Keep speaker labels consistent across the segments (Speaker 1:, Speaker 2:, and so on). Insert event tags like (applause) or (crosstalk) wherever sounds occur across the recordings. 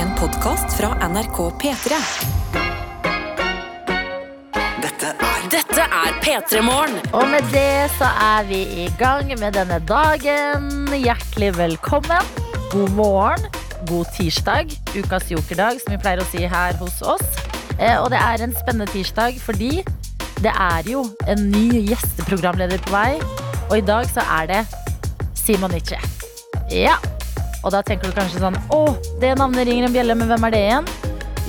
Speaker 1: En podkast fra NRK P3.
Speaker 2: Dette er
Speaker 3: Dette er P3 Morgen.
Speaker 4: Og med det så er vi i gang med denne dagen. Hjertelig velkommen. God morgen. God tirsdag. Ukas jokerdag, som vi pleier å si her hos oss. Eh, og det er en spennende tirsdag fordi det er jo en ny gjesteprogramleder på vei. Og i dag så er det Simon Nietzsche. Ja. Og da tenker du kanskje sånn Å, det navnet ringer en bjelle, men hvem er det igjen?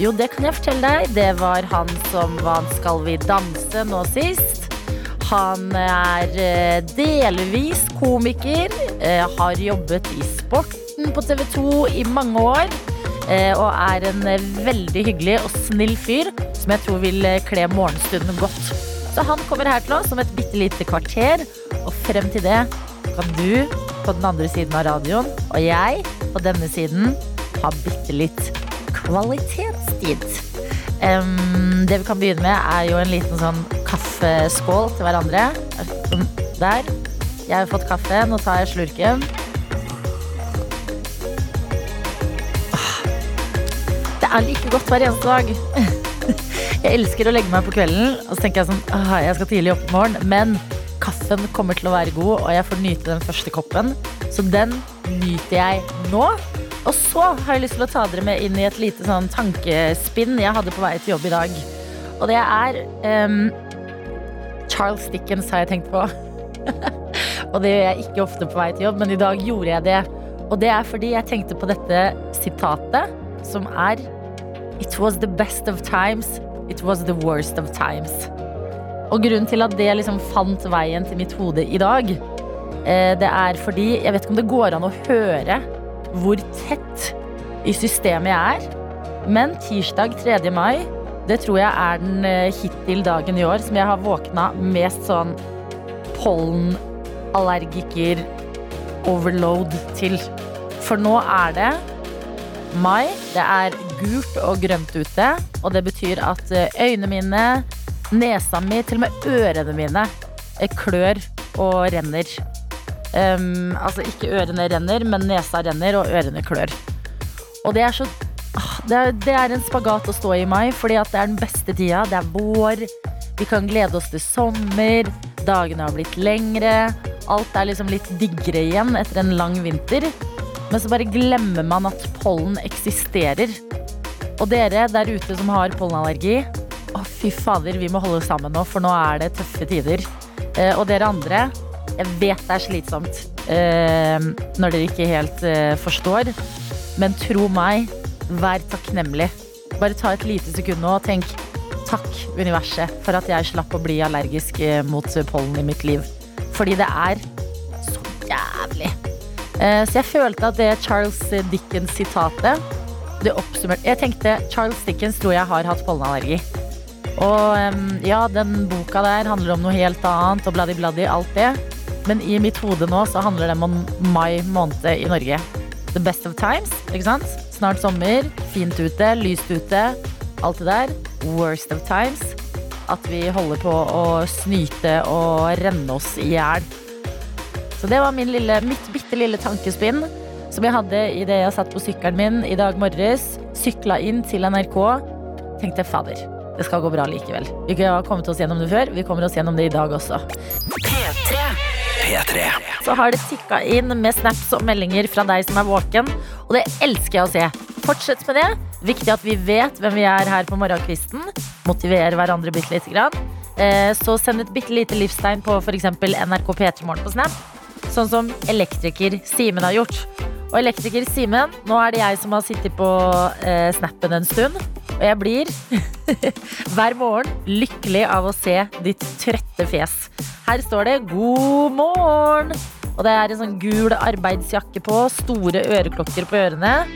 Speaker 4: Jo, det kan jeg fortelle deg. Det var han som vant Skal vi danse nå sist. Han er eh, delvis komiker, eh, har jobbet i sporten på TV 2 i mange år. eh, Og er en eh, veldig hyggelig og snill fyr som jeg tror vil eh, kle morgenstunden godt. Så han kommer her til oss om et bitte lite kvarter, og frem til det kan du på den andre siden av radioen og jeg på denne siden ha bitte litt kvalitetstid. Em, det vi kan begynne med, er jo en liten sånn kaffeskål til hverandre. Sånn, Der. Jeg har fått kaffe. Nå tar jeg slurken. Ah. Det er like godt hver eneste dag. Jeg elsker å legge meg på kvelden, og så tenker jeg sånn ah, Jeg skal tidlig opp i morgen, men kaffen kommer til å være god, og jeg får nyte den første koppen. Så den nyter jeg nå. Og så har jeg lyst til å ta dere med inn i et lite sånn tankespinn jeg hadde på vei til jobb i dag. Og det er ehm, Charles Dickens har jeg tenkt på. (laughs) og det gjør jeg ikke ofte på vei til jobb, men i dag gjorde jeg det. Og det er fordi jeg tenkte på dette sitatet, som er It was the best of times, it was the worst of times. Og grunnen til at det liksom fant veien til mitt hode i dag, eh, det er fordi Jeg vet ikke om det går an å høre hvor tett i systemet jeg er, men tirsdag 3. mai, det tror jeg er den eh, hittil dagen i år som jeg har våkna mest sånn pollenallergiker overload til. For nå er det mai. Det er gult og grønt ute, og det betyr at eh, øynene mine, nesa mi, til og med ørene mine eh, klør og renner. Ehm, altså ikke ørene renner, men nesa renner og ørene klør. Og det er så ah, det er, det er en spagat å stå i i mai, fordi at det er den beste tida. Det er vår. Vi kan glede oss til sommer. Dagene har blitt lengre. Alt er liksom litt diggere igjen etter en lang vinter. Men så bare glemmer man at pollen eksisterer. Og dere der ute som har pollenallergi, å fy fader, vi må holde sammen nå, for nå er det tøffe tider. Eh, og dere andre, jeg vet det er slitsomt eh, når dere ikke helt eh, forstår, men tro meg, vær takknemlig. Bare ta et lite sekund nå og tenk takk, universet, for at jeg slapp å bli allergisk eh, mot pollen i mitt liv. Fordi det er så jævlig. Eh, Så jeg følte at det Charles Dickens-sitatet Det oppsummerte Jeg tenkte Charles Dickens tror jeg har hatt pollenallergi. Og em, ja, den boka der handler om noe helt annet og bladdi-bladdi, alt det. Men i mitt hode nå så handler den om mai måned i Norge. The best of times, ikke sant? Snart sommer, fint ute, lyst ute, alt det der. Worst of times. At vi holder på å snyte og renne oss i hjel. Så det var min lille, mitt bitte lille tankespinn som jeg hadde idet jeg satt på sykkelen min i dag morges, sykla inn til NRK. Tenkte fader, det skal gå bra likevel. Vi har kommet oss gjennom det før, vi kommer oss gjennom det i dag også.
Speaker 2: P3.
Speaker 4: Så har det tikka inn med snaps og meldinger fra deg som er våken, og det elsker jeg å se. Fortsett med det. Viktig at vi vet hvem vi er her på morgenkvisten. Motivere hverandre bitte lite grann. Eh, Så send et bitte lite livstegn på f.eks. NRK P3 Morgen på Snap. Sånn som elektriker Simen har gjort. Og elektriker Simen, nå er det jeg som har sittet på eh, snappen en stund. Og jeg blir (laughs) hver morgen lykkelig av å se ditt trøtte fjes. Her står det 'God morgen', og det er en sånn gul arbeidsjakke på, store øreklokker på ørene.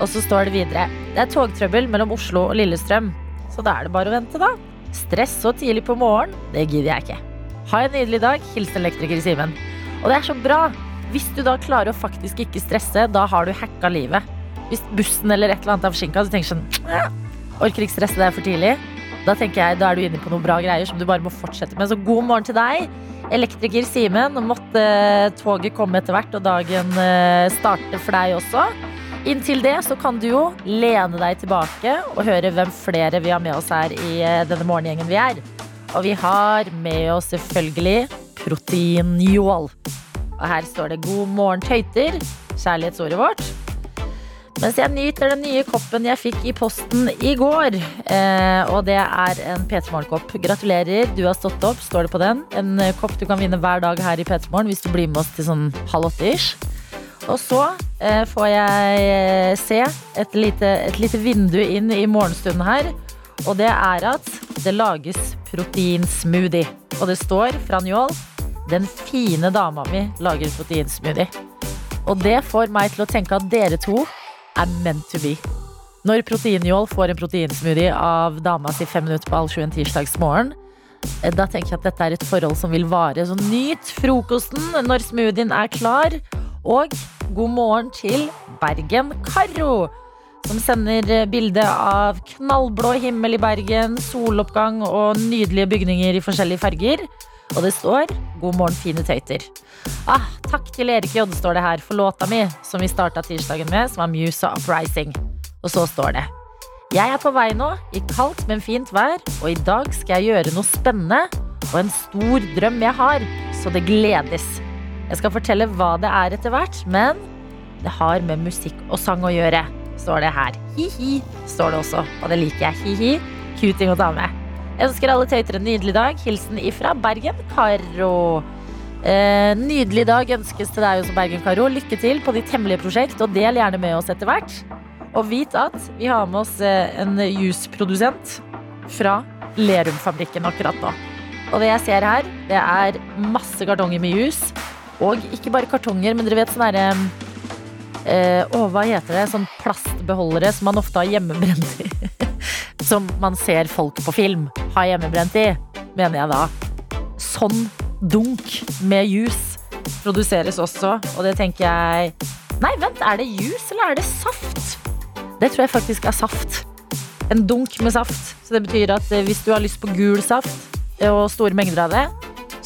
Speaker 4: Og så står det videre 'Det er togtrøbbel mellom Oslo og Lillestrøm'. Så da er det bare å vente, da. Stress så tidlig på morgenen, det gidder jeg ikke. Ha en nydelig dag. Hilsen elektriker Simen. Og det er så bra. Hvis du da klarer å faktisk ikke stresse, da har du hacka livet. Hvis bussen eller et eller annet er forsinka, så tenker du sånn «Æ, Orker ikke stresse deg for tidlig. Da tenker jeg, da er du inne på noen bra greier som du bare må fortsette med. Så god morgen til deg, elektriker Simen. Måtte eh, toget komme etter hvert og dagen eh, starte for deg også. Inntil det så kan du jo lene deg tilbake og høre hvem flere vi har med oss her i eh, denne morgengjengen vi er. Og vi har med oss selvfølgelig proteinjål. Og her står det 'God morgen, tøyter', kjærlighetsordet vårt. Mens jeg nyter den nye koppen jeg fikk i posten i går. Eh, og det er en P3 Morgen-kopp. Gratulerer, du har stått opp, står det på den. En eh, kopp du kan vinne hver dag her i P3 Morgen hvis du blir med oss til sånn halv åtte-ish. Og så eh, får jeg eh, se et lite, et lite vindu inn i morgenstunden her. Og det er at det lages proteinsmoothie. Og det står fra Njål den fine dama mi lager proteinsmoothie. Og det får meg til å tenke at dere to er meant to be. Når proteinjål får en proteinsmoothie av dama si fem minutter på halv sju en tirsdagsmorgen, eh, da tenker jeg at dette er et forhold som vil vare. Så nyt frokosten når smoothien er klar. Og god morgen til Bergen Karo, som sender eh, bilde av knallblå himmel i Bergen, soloppgang og nydelige bygninger i forskjellige farger. Og det står 'God morgen, fine tøyter'. Ah, takk til Erik J, står det her, for låta mi, som vi starta tirsdagen med, som var Muse og Uprising. Og så står det Jeg er på vei nå, i kaldt, men fint vær, og i dag skal jeg gjøre noe spennende og en stor drøm jeg har, så det gledes. Jeg skal fortelle hva det er etter hvert, men det har med musikk og sang å gjøre, står det her. Hi-hi, står det også, og det liker jeg. Hi-hi, kuting og dame. Jeg ønsker alle tøyter en nydelig dag. Hilsen ifra Bergen, Karo. Eh, nydelig dag ønskes til deg også, Bergen Karo. Lykke til på ditt hemmelige prosjekt, og del gjerne med oss etter hvert. Og vit at vi har med oss eh, en juiceprodusent fra Lerumfabrikken akkurat nå. Og det jeg ser her, det er masse kartonger med juice. Og ikke bare kartonger, men dere vet sånn derre eh, Å, hva heter det? Sånn plastbeholdere som man ofte har hjemmebrent i. (laughs) som man ser folk på film har hjemmebrent i, mener jeg da. Sånn dunk med juice produseres også, og det tenker jeg Nei, vent, er det juice eller er det saft? Det tror jeg faktisk er saft. En dunk med saft. Så det betyr at eh, hvis du har lyst på gul saft eh, og store mengder av det,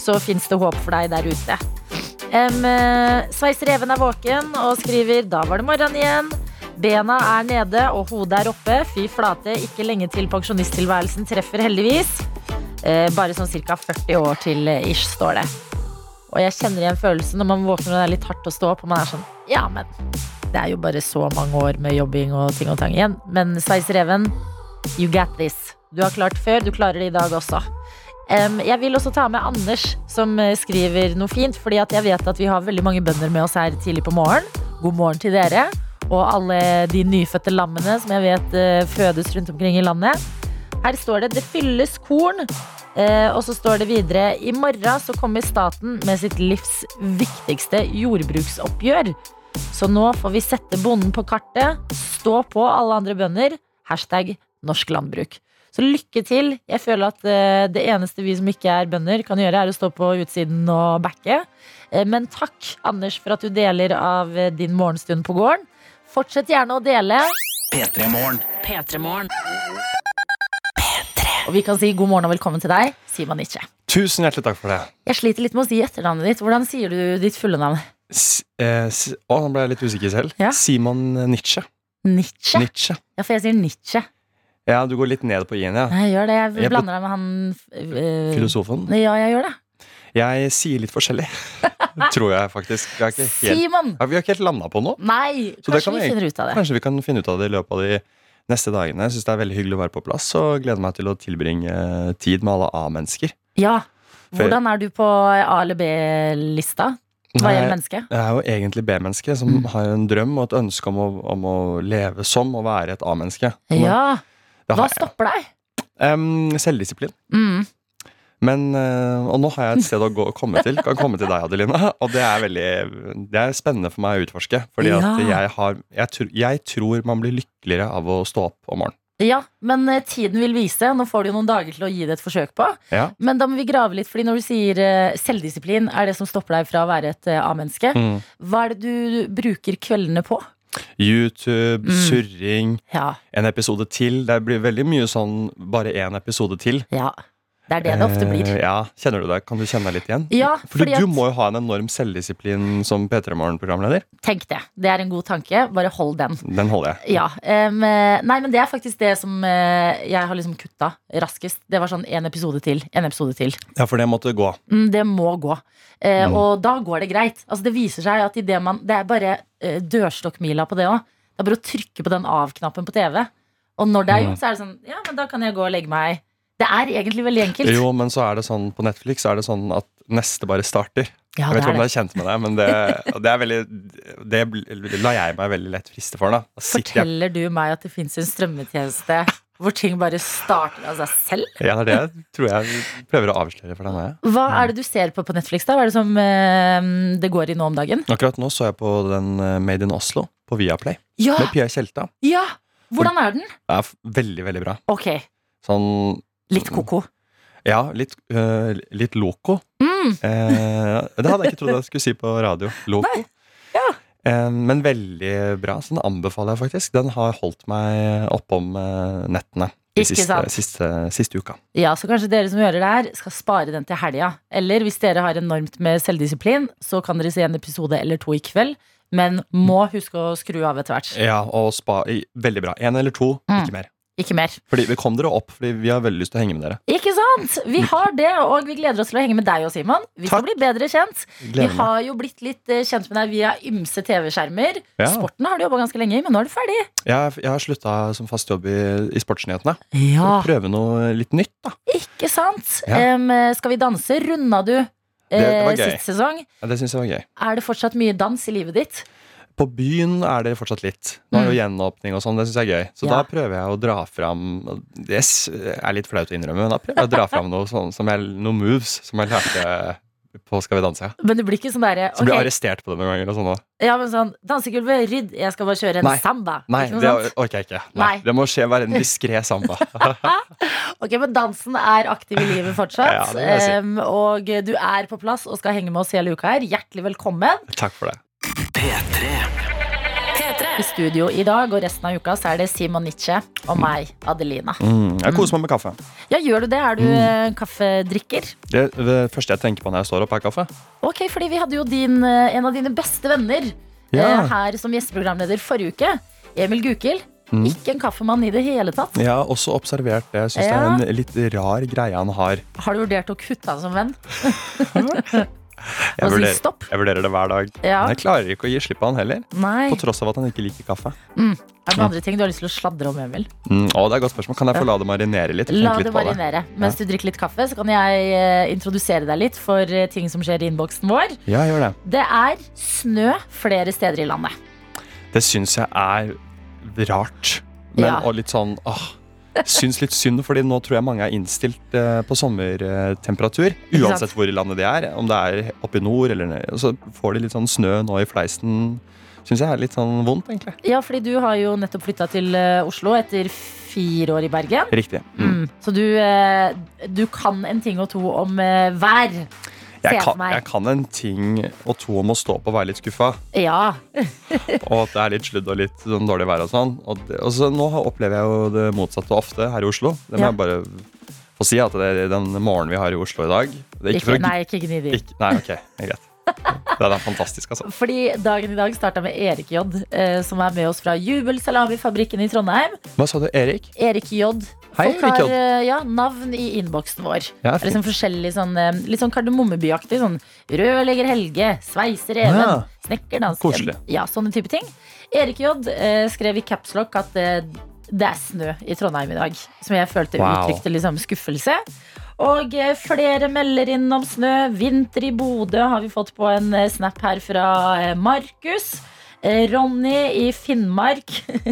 Speaker 4: så fins det håp for deg der ute. Em, eh, Sveis Reven er våken og skriver 'Da var det morgen igjen'. Bena er nede og hodet er oppe. Fy flate, ikke lenge til pensjonisttilværelsen treffer, heldigvis. Eh, bare sånn ca. 40 år til eh, ish, står det. Og jeg kjenner igjen følelsen når man våkner og det er litt hardt å stå opp, og man er sånn Ja, men det er jo bare så mange år med jobbing og ting og tang igjen. Men Sveis Reven, you got this. Du har klart før, du klarer det i dag også. Em, jeg vil også ta med Anders, som eh, skriver noe fint. Fordi at jeg vet at vi har veldig mange bønder med oss her tidlig på morgen. God morgen til dere. Og alle de nyfødte lammene som jeg vet eh, fødes rundt omkring i landet. Her står det 'det fylles korn'. Eh, og så står det videre 'i morgen så kommer staten med sitt livs viktigste jordbruksoppgjør'. Så nå får vi sette bonden på kartet. Stå på, alle andre bønder. Hashtag norsk landbruk. Så lykke til. Jeg føler at eh, det eneste vi som ikke er bønder, kan gjøre, er å stå på utsiden og backe. Eh, men takk, Anders, for at du deler av eh, din morgenstund på gården. Fortsett gjerne å dele.
Speaker 2: P3 Morgen.
Speaker 3: P3 Morgen.
Speaker 4: Og vi kan si god morgen og velkommen til deg, Simon Nietzsche.
Speaker 5: Tusen hjertelig takk for det.
Speaker 4: Jeg sliter litt med å si etternavnet ditt. Hvordan sier du ditt fulle navn?
Speaker 5: S eh, s å, nå ble jeg litt usikker selv.
Speaker 4: Ja.
Speaker 5: Simon eh, Nietzsche.
Speaker 4: Nietzsche?
Speaker 5: Nietzsche.
Speaker 4: Ja, for jeg sier Nietzsche.
Speaker 5: Ja, du går litt ned på i-en, ja.
Speaker 4: Nei, jeg gjør det. Jeg
Speaker 5: Jeg ble-
Speaker 4: blander deg med han eh,
Speaker 5: Filosofen.
Speaker 4: Ja, jeg gjør det.
Speaker 5: Jeg sier litt forskjellig. (laughs) Tror jeg faktisk. Vi har ikke helt,
Speaker 4: Simon!
Speaker 5: ja, vi har ikke helt landa på noe.
Speaker 4: Nei,
Speaker 5: Så det kan
Speaker 4: kanskje vi
Speaker 5: vi-
Speaker 4: finner ut av det.
Speaker 5: Kanskje vi kan finne ut av det i løpet av de neste dagene. Jeg syns det er veldig hyggelig å være på plass, og gleder meg til å tilbringe eh, tid med alle A-mennesker.
Speaker 4: Ja.
Speaker 5: For-
Speaker 4: Hvordan er du på A- eller B-lista hva
Speaker 5: Nei,
Speaker 4: gjelder mennesket?
Speaker 5: Jeg er jo egentlig B-menneske, som
Speaker 4: Mm.
Speaker 5: har en drøm og et ønske om å, om å leve som og være et A-menneske.
Speaker 4: Ja.
Speaker 5: Det
Speaker 4: Hva
Speaker 5: har jeg.
Speaker 4: stopper deg?
Speaker 5: Em, selvdisiplin.
Speaker 4: Mm.
Speaker 5: Men, eh, og nå har jeg et sted å gå, komme til. Kan komme til deg, Adelina. (laughs) Og det er veldig Det er spennende for meg å utforske. Fordi at
Speaker 4: Ja.
Speaker 5: jeg, har, jeg, tr jeg tror man blir lykkeligere av å stå opp om morgenen.
Speaker 4: Ja, men eh, tiden vil vise. Nå får du jo noen dager til å gi det et forsøk på.
Speaker 5: Ja.
Speaker 4: Men da må vi grave litt, fordi når du sier eh, selvdisiplin er det som stopper deg fra å være et eh, A-menneske,
Speaker 5: Mm.
Speaker 4: hva er det du bruker kveldene på?
Speaker 5: YouTube,
Speaker 4: Mm.
Speaker 5: surring,
Speaker 4: Ja,
Speaker 5: en episode til. Det blir veldig mye sånn bare én episode til.
Speaker 4: ja. Det er det det ofte blir.
Speaker 5: Eh, Ja, Kjenner du deg? Kan du kjenne deg litt igjen?
Speaker 4: Ja,
Speaker 5: For du,
Speaker 4: fordi
Speaker 5: du
Speaker 4: at-
Speaker 5: må jo ha en enorm selvdisiplin som P3 Morgen-programleder.
Speaker 4: Tenk det. Det er en god tanke. Bare hold den.
Speaker 5: Den holder jeg.
Speaker 4: Ja. em, eh, nei, men det er faktisk det som eh, jeg har liksom kutta raskest. Det var sånn én episode til, én episode til.
Speaker 5: Ja, for det måtte gå.
Speaker 4: Mm, det må gå. Eh,
Speaker 5: Mm.
Speaker 4: Og da går det greit. Altså, det viser seg at i det, man, det er bare eh, dørstokkmila på det òg. Det er bare å trykke på den av-knappen på TV. Og når
Speaker 5: Mm.
Speaker 4: det er gjort, så er det sånn Ja, men da kan jeg gå og legge meg. Det er egentlig veldig enkelt.
Speaker 5: Jo, men så er det sånn på Netflix så er det sånn at neste bare starter.
Speaker 4: ja,
Speaker 5: jeg
Speaker 4: det
Speaker 5: vet ikke om
Speaker 4: er
Speaker 5: du
Speaker 4: det.
Speaker 5: er kjent med det, men det, det er veldig Det bl- la jeg meg veldig lett friste for, da. da. sitter jeg-
Speaker 4: Forteller du meg at det fins en strømmetjeneste hvor ting bare starter av seg selv?
Speaker 5: Ja, det er det jeg tror jeg prøver å avsløre for denne.
Speaker 4: Hva er det du ser på på Netflix, da? Hva er det som eh, det går i nå om dagen?
Speaker 5: Akkurat nå så jeg på den eh, Made in Oslo på Viaplay
Speaker 4: Ja!
Speaker 5: med Pia Tjelta.
Speaker 4: ja! Hvordan er den?
Speaker 5: Det er f- veldig, veldig bra.
Speaker 4: Ok,
Speaker 5: Sånn
Speaker 4: litt koko.
Speaker 5: Ja, litt, øh, litt loco.
Speaker 4: Mm.
Speaker 5: Eh, det hadde jeg ikke trodd jeg skulle si på radio. Loco. Eh, men veldig bra, så den anbefaler jeg faktisk. Den har holdt meg oppom eh, nettene de
Speaker 4: Ikke
Speaker 5: siste,
Speaker 4: sant?
Speaker 5: siste, siste uka.
Speaker 4: Ja, så kanskje dere som hører det her, skal spare den til helga. Eller hvis dere har enormt med selvdisiplin, så kan dere se en episode eller to i kveld. Men må huske å skru av etter hvert.
Speaker 5: Ja, og spa, i- veldig bra. Én eller to,
Speaker 4: Mm.
Speaker 5: ikke mer.
Speaker 4: Ikke mer.
Speaker 5: Fordi vi Kom dere opp, fordi vi har veldig lyst til å henge med dere.
Speaker 4: Ikke sant? Vi har det, og vi gleder oss til å henge med deg og Simon. Vi skal bli
Speaker 5: Takk.
Speaker 4: bedre kjent. Vi
Speaker 5: Gleder meg.
Speaker 4: har jo blitt litt eh, kjent med deg via ymse TV-skjermer.
Speaker 5: Ja.
Speaker 4: Sporten har du jobba ganske lenge i, men nå er du ferdig.
Speaker 5: Jeg, har- jeg har slutta som fast jobb i, i Sportsnyhetene.
Speaker 4: Ja,
Speaker 5: Prøve noe litt nytt, da.
Speaker 4: Ikke sant?
Speaker 5: Ja.
Speaker 4: Em, eh, skal vi danse? Runda du
Speaker 5: det var
Speaker 4: eh,
Speaker 5: gøy.
Speaker 4: sist sesong?
Speaker 5: Ja, det syns jeg var gøy.
Speaker 4: Er det fortsatt mye dans i livet ditt?
Speaker 5: På byen er det fortsatt litt. Nå er det jo gjenåpning og sånn, det syns jeg er gøy. Så
Speaker 4: Mm. Ja.
Speaker 5: da prøver jeg å dra fram Det s- er litt flaut å innrømme, men da prøver jeg å dra fram noe sånn, som jeg, noen moves som jeg lærte på Skal vi danse.
Speaker 4: Men det blir ikke sånn derre
Speaker 5: Så blir
Speaker 4: ok,
Speaker 5: jeg arrestert på det noen ganger. og sånn også.
Speaker 4: ja, men sånn, Dansegulvet, rydd, jeg skal bare kjøre en
Speaker 5: Nei.
Speaker 4: samba.
Speaker 5: Nei,
Speaker 4: Ikke noe
Speaker 5: det
Speaker 4: sånt?
Speaker 5: orker jeg ikke. Nei,
Speaker 4: Nei.
Speaker 5: Det må skje være en diskré samba.
Speaker 4: Ok, Men dansen er aktiv i livet fortsatt.
Speaker 5: (laughs) Ja, det vil jeg si.
Speaker 4: Em, og du er på plass og skal henge med oss hele uka her. Hjertelig velkommen.
Speaker 5: Takk for det.
Speaker 4: I studio i dag og resten av uka så er det Simon Nietzsche og meg, Adelina.
Speaker 5: Mm, jeg koser meg med kaffe.
Speaker 4: Ja, gjør du det? Er du eh, kaffedrikker?
Speaker 5: Det, det første jeg tenker på når jeg står opp, er kaffe.
Speaker 4: Ok, fordi vi hadde jo din, eh, en av dine beste venner
Speaker 5: Ja.
Speaker 4: eh, her som gjesteprogramleder forrige uke. Emil Gukild.
Speaker 5: Mm.
Speaker 4: Ikke en kaffemann i det hele tatt.
Speaker 5: Jeg har også observert det. Jeg syns
Speaker 4: Ja.
Speaker 5: det er en litt rar greie han har.
Speaker 4: Har du vurdert å kutte han som venn?
Speaker 5: Jeg
Speaker 4: Og si
Speaker 5: vurderer,
Speaker 4: Altså, stopp.
Speaker 5: jeg vurderer det hver dag.
Speaker 4: Ja.
Speaker 5: Men jeg klarer ikke å gi slipp på han heller.
Speaker 4: Nei.
Speaker 5: På tross av at han ikke liker kaffe.
Speaker 4: Er det noen andre ting du har lyst til å sladre om, Emil?
Speaker 5: Mm, å, det er et godt spørsmål. Kan jeg få la det marinere litt? og
Speaker 4: La
Speaker 5: tenke
Speaker 4: det
Speaker 5: litt på
Speaker 4: marinere. Mens du drikker litt kaffe, så kan jeg eh, introdusere deg litt for eh, ting som skjer i innboksen vår.
Speaker 5: Ja, gjør det.
Speaker 4: Det er snø flere steder i landet.
Speaker 5: Det syns jeg er rart. Men
Speaker 4: Ja.
Speaker 5: og litt sånn åh, Syns litt synd, fordi nå tror jeg mange er innstilt eh, på sommertemperatur.
Speaker 4: sant?
Speaker 5: Uansett hvor i landet de er. Om det er oppe i nord eller nede. og Så får de litt sånn snø nå i fleisen. Syns jeg er litt sånn vondt, egentlig.
Speaker 4: Ja, fordi du har jo nettopp flytta til eh, Oslo etter fire år i Bergen.
Speaker 5: Riktig. Mm.
Speaker 4: Mm. Så du, eh, du kan en ting og to om eh, vær.
Speaker 5: Jeg,
Speaker 4: for
Speaker 5: kan,
Speaker 4: meg.
Speaker 5: jeg kan en ting og to om å stå opp og være litt skuffa.
Speaker 4: Ja.
Speaker 5: Og at det er litt sludd og litt sånn dårlig vær og sånn. Og, det, og så nå opplever jeg jo det motsatte ofte her i Oslo. Det må
Speaker 4: Ja.
Speaker 5: jeg bare få si at det er den morgenen vi har i Oslo i dag det er ikke for
Speaker 4: Ikke,
Speaker 5: å,
Speaker 4: nei, ikke gnidig.
Speaker 5: Ikke, nei, ok. det er Greit. Den er fantastisk, altså.
Speaker 4: Fordi dagen i dag starta med Erik J, eh, som er med oss fra Jubel Salamifabrikken i Trondheim.
Speaker 5: Hva sa du, Erik?
Speaker 4: Erik J.
Speaker 5: Hei,
Speaker 4: Folk
Speaker 5: Erik J.
Speaker 4: har eh, ja, navn i innboksen vår.
Speaker 5: Ja,
Speaker 4: Det er liksom forskjellig sånn, eh, Litt sånn kardemommebyaktig. Sånn rørlegger Helge, sveiser Even,
Speaker 5: Ja.
Speaker 4: snekker dansken.
Speaker 5: Ah. Koselig.
Speaker 4: Ja, sånne type ting. Erik J eh, skrev i capslock at eh, det er snø i Trondheim i dag. Som jeg følte
Speaker 5: Wow.
Speaker 4: uttrykte liksom skuffelse. Og eh, flere melder inn om snø. Vinter i Bodø har vi fått på en eh, snap her fra eh, Markus. Eh, Ronny i Finnmark (laughs)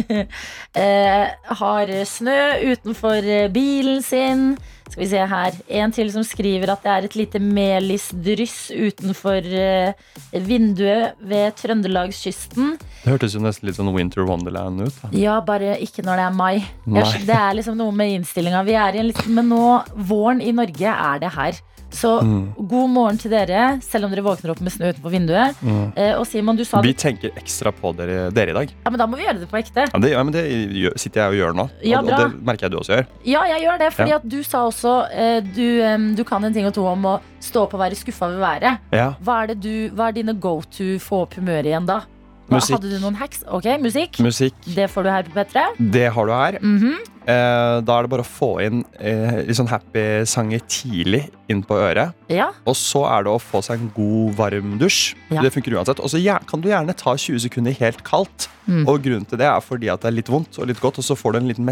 Speaker 4: eh, har snø utenfor eh, bilen sin. Skal vi se her. En til som skriver at det er et lite melisdryss utenfor eh, vinduet ved Trøndelagskysten.
Speaker 5: Det hørtes jo nesten litt sånn Winter Wonderland ut. da.
Speaker 4: Ja, bare ikke når det er mai.
Speaker 5: Nei.
Speaker 4: Jeg skj- Det er liksom noe med innstillinga vi er i. en Liksom, men nå, våren i Norge er det her. Så
Speaker 5: Mm.
Speaker 4: god morgen til dere, selv om dere våkner opp med snø utenfor vinduet.
Speaker 5: Mm.
Speaker 4: Eh, og Simon, du sa
Speaker 5: Vi tenker ekstra på dere, dere i dag.
Speaker 4: Ja, men da må vi gjøre det på ekte.
Speaker 5: Ja, men det, ja, men det gjør, sitter jeg og gjør nå.
Speaker 4: Ja,
Speaker 5: og,
Speaker 4: bra.
Speaker 5: og det merker jeg du også gjør.
Speaker 4: Ja, jeg gjør det, fordi
Speaker 5: Ja.
Speaker 4: at du sa også eh, du, em, du kan en ting og to om å stå opp og være skuffa ved været.
Speaker 5: Ja.
Speaker 4: Hva er, det du, hva er dine go to få opp humøret igjen da? Hva,
Speaker 5: Musikk.
Speaker 4: Hadde du noen hacks? Ok, musikk.
Speaker 5: Musikk,
Speaker 4: Det får du her på P3.
Speaker 5: det har du her.
Speaker 4: Mhm.
Speaker 5: Eh, da er det bare å få inn eh, litt sånn happy sanger tidlig inn på øret.
Speaker 4: Ja.
Speaker 5: Og så er det å få seg en god, varm dusj.
Speaker 4: Ja.
Speaker 5: Det funker uansett. Og så gjer- kan du gjerne ta 20 sekunder helt kaldt.
Speaker 4: Mm.
Speaker 5: Og grunnen til det er fordi at det er litt vondt og litt godt, og så får du en liten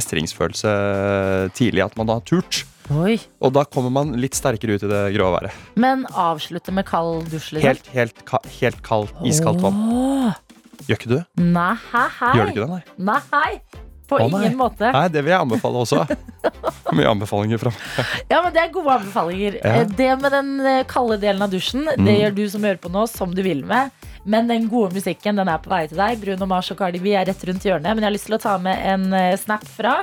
Speaker 5: mestringsfølelse tidlig at man har turt.
Speaker 4: Oi.
Speaker 5: Og da kommer man litt sterkere ut i det grå været.
Speaker 4: Men avslutte med kald dusj, liksom.
Speaker 5: Helt, helt, ka helt kaldt, iskaldt vann.
Speaker 4: Åh.
Speaker 5: Gjør ikke du?
Speaker 4: Nei,
Speaker 5: Gjør du ikke det, nei?
Speaker 4: Nei. På
Speaker 5: Å, nei.
Speaker 4: ingen måte.
Speaker 5: Nei, det vil jeg anbefale
Speaker 4: (laughs)
Speaker 5: også. Mye anbefalinger fram.
Speaker 4: Ja, men Det er gode anbefalinger.
Speaker 5: Ja. Mm.
Speaker 4: Eh, Det med den eh, kalde delen av dusjen Det gjør du som hører på nå, som du vil med. Men den gode musikken den er på vei til deg. Bruno Mars og Cardi B er rett rundt hjørnet. Men jeg har lyst til å ta med en eh, snap fra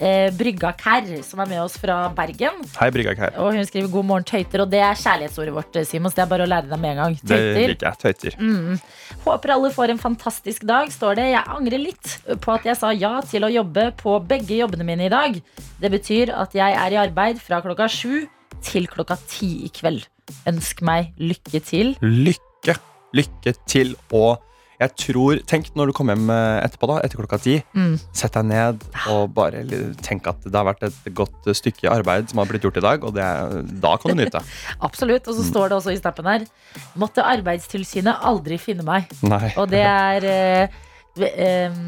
Speaker 4: eh, Brygga Kerr, som er med oss fra Bergen.
Speaker 5: Hei, Brygga Kær.
Speaker 4: Og hun skriver 'God morgen, tøyter'. Og det er kjærlighetsordet vårt, eh, Simon. Så det er bare å lære deg med en gang.
Speaker 5: Det
Speaker 4: Tøyter.
Speaker 5: liker jeg. Tøyter.
Speaker 4: Håper alle får en fantastisk dag, står det. Jeg angrer litt på at jeg sa ja til å jobbe på begge jobbene mine i dag. Det betyr at jeg er i arbeid fra klokka sju til klokka ti i kveld. Ønsk meg lykke til.
Speaker 5: Lykke. Lykke til og jeg tror, Tenk når du kommer hjem eh, etterpå, da, etter klokka ti.
Speaker 4: Mm.
Speaker 5: Sett deg ned og bare li- tenk at det har vært et godt stykke arbeid som har blitt gjort i dag, og det, er- da kan
Speaker 4: (laughs)
Speaker 5: du nyte.
Speaker 4: Absolutt. Og så står det også i snappen her Måtte Arbeidstilsynet aldri finne meg.
Speaker 5: Nei.
Speaker 4: Og det er eh, ve- em,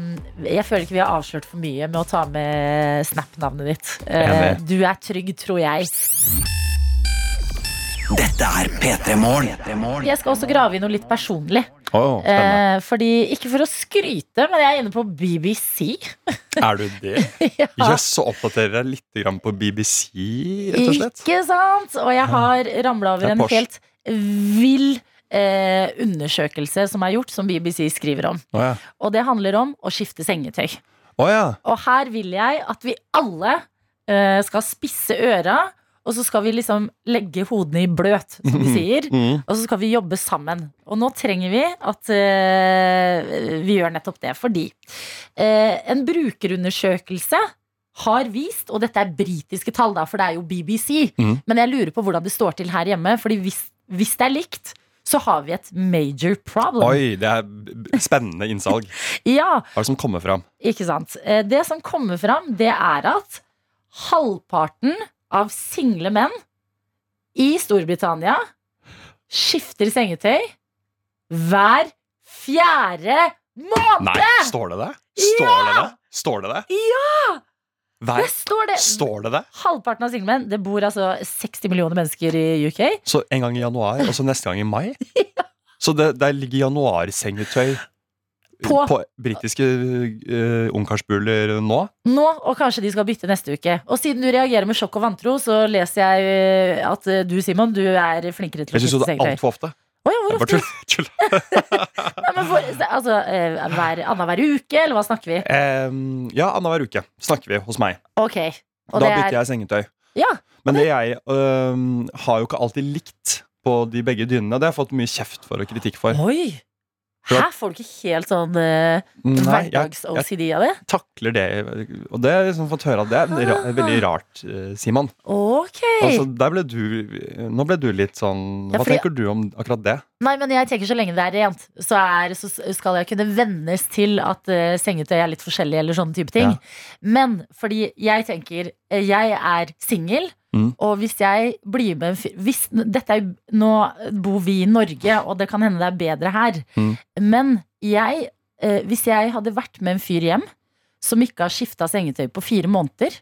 Speaker 4: Jeg føler ikke vi har avslørt for mye med å ta med Snap-navnet ditt. Eh,
Speaker 5: Enig.
Speaker 4: Du er trygg, tror jeg.
Speaker 2: Dette er P3 Morgen.
Speaker 4: Jeg skal også grave i noe litt personlig.
Speaker 5: Å, spennende.
Speaker 4: Eh, fordi, ikke for å skryte, men jeg er inne på BBC.
Speaker 5: Er du det?
Speaker 4: (laughs) Ja.
Speaker 5: Jøss, så oppdaterer jeg litt grann på BBC, rett og slett.
Speaker 4: Ikke sant? Og jeg har ramla
Speaker 5: Det
Speaker 4: over
Speaker 5: er
Speaker 4: en
Speaker 5: Porsche.
Speaker 4: helt vill eh, undersøkelse som er gjort, som BBC skriver om.
Speaker 5: Å ja.
Speaker 4: Og det handler om å skifte sengetøy.
Speaker 5: Å ja.
Speaker 4: Og her vil jeg at vi alle eh, skal spisse øra, og så skal vi liksom legge hodene i bløt, som
Speaker 5: (laughs)
Speaker 4: de sier.
Speaker 5: Mm.
Speaker 4: Og så skal vi jobbe sammen. Og nå trenger vi at eh, vi gjør nettopp det. Fordi eh, en brukerundersøkelse har vist, og dette er britiske tall, da, for det er jo BBC,
Speaker 5: Mhm.
Speaker 4: men jeg lurer på hvordan det står til her hjemme. Fordi hvis, hvis det er likt, så har vi et major problem.
Speaker 5: Oi, det er b- b- spennende innsalg.
Speaker 4: Ja,
Speaker 5: Hva er det som kommer fram?
Speaker 4: ikke sant. Eh, Det som kommer fram, det er at halvparten av single menn i Storbritannia skifter sengetøy hver fjerde måned!
Speaker 5: Nei, står det det? Står det det? Står det det? Ja!
Speaker 4: Det
Speaker 5: Hver,
Speaker 4: står det!
Speaker 5: står det det?
Speaker 4: Halvparten av single menn. Det bor altså 60 millioner mennesker i UK.
Speaker 5: Så en gang i januar, og så neste gang i mai? Så det, der ligger januarsengetøy
Speaker 4: På-
Speaker 5: på, på britiske eh, ungkarsbuler nå?
Speaker 4: Nå, og kanskje de skal bytte neste uke. Og siden du reagerer med sjokk og vantro, så leser jeg eh, at eh, du, Simon, du er flinkere til å
Speaker 5: Jeg syns
Speaker 4: skifte
Speaker 5: det er
Speaker 4: sengetøy.
Speaker 5: altfor ofte.
Speaker 4: Å ja, hvor
Speaker 5: Jeg
Speaker 4: ofte
Speaker 5: bare tull- tull.
Speaker 4: Nei, men hvor, altså, eh, hver, Annenhver uke, eller hva snakker vi?
Speaker 5: Em, ja, annenhver uke snakker vi hos meg.
Speaker 4: Ok. Og
Speaker 5: da
Speaker 4: det
Speaker 5: bytter
Speaker 4: er
Speaker 5: jeg sengetøy.
Speaker 4: Ja,
Speaker 5: Men det jeg øhm, har jo ikke alltid likt på de begge dynene. og Det har jeg fått mye kjeft for og kritikk for.
Speaker 4: Oi! Hæ, får du ikke helt sånn eh,
Speaker 5: Nei, jeg
Speaker 4: hverdags-OCD av det?
Speaker 5: takler det, og det har jeg liksom fått høre at det
Speaker 4: Ah.
Speaker 5: er ra veldig rart, eh, Simon.
Speaker 4: Ok!
Speaker 5: Altså, der ble du, nå ble du litt sånn
Speaker 4: Ja,
Speaker 5: Hva
Speaker 4: fordi-
Speaker 5: tenker du om akkurat det?
Speaker 4: Nei, men jeg tenker så lenge det er rent, så, er, så skal jeg kunne vennes til at eh, sengetøy er litt forskjellig, eller sånne type ting.
Speaker 5: Ja.
Speaker 4: Men fordi jeg tenker eh, Jeg er singel,
Speaker 5: Mm.
Speaker 4: og hvis jeg blir med en fyr hvis, dette er, jo- Nå bor vi i Norge, og det kan hende det er bedre her.
Speaker 5: Mm.
Speaker 4: Men jeg, eh, hvis jeg hadde vært med en fyr hjem som ikke har skifta sengetøy på fire måneder,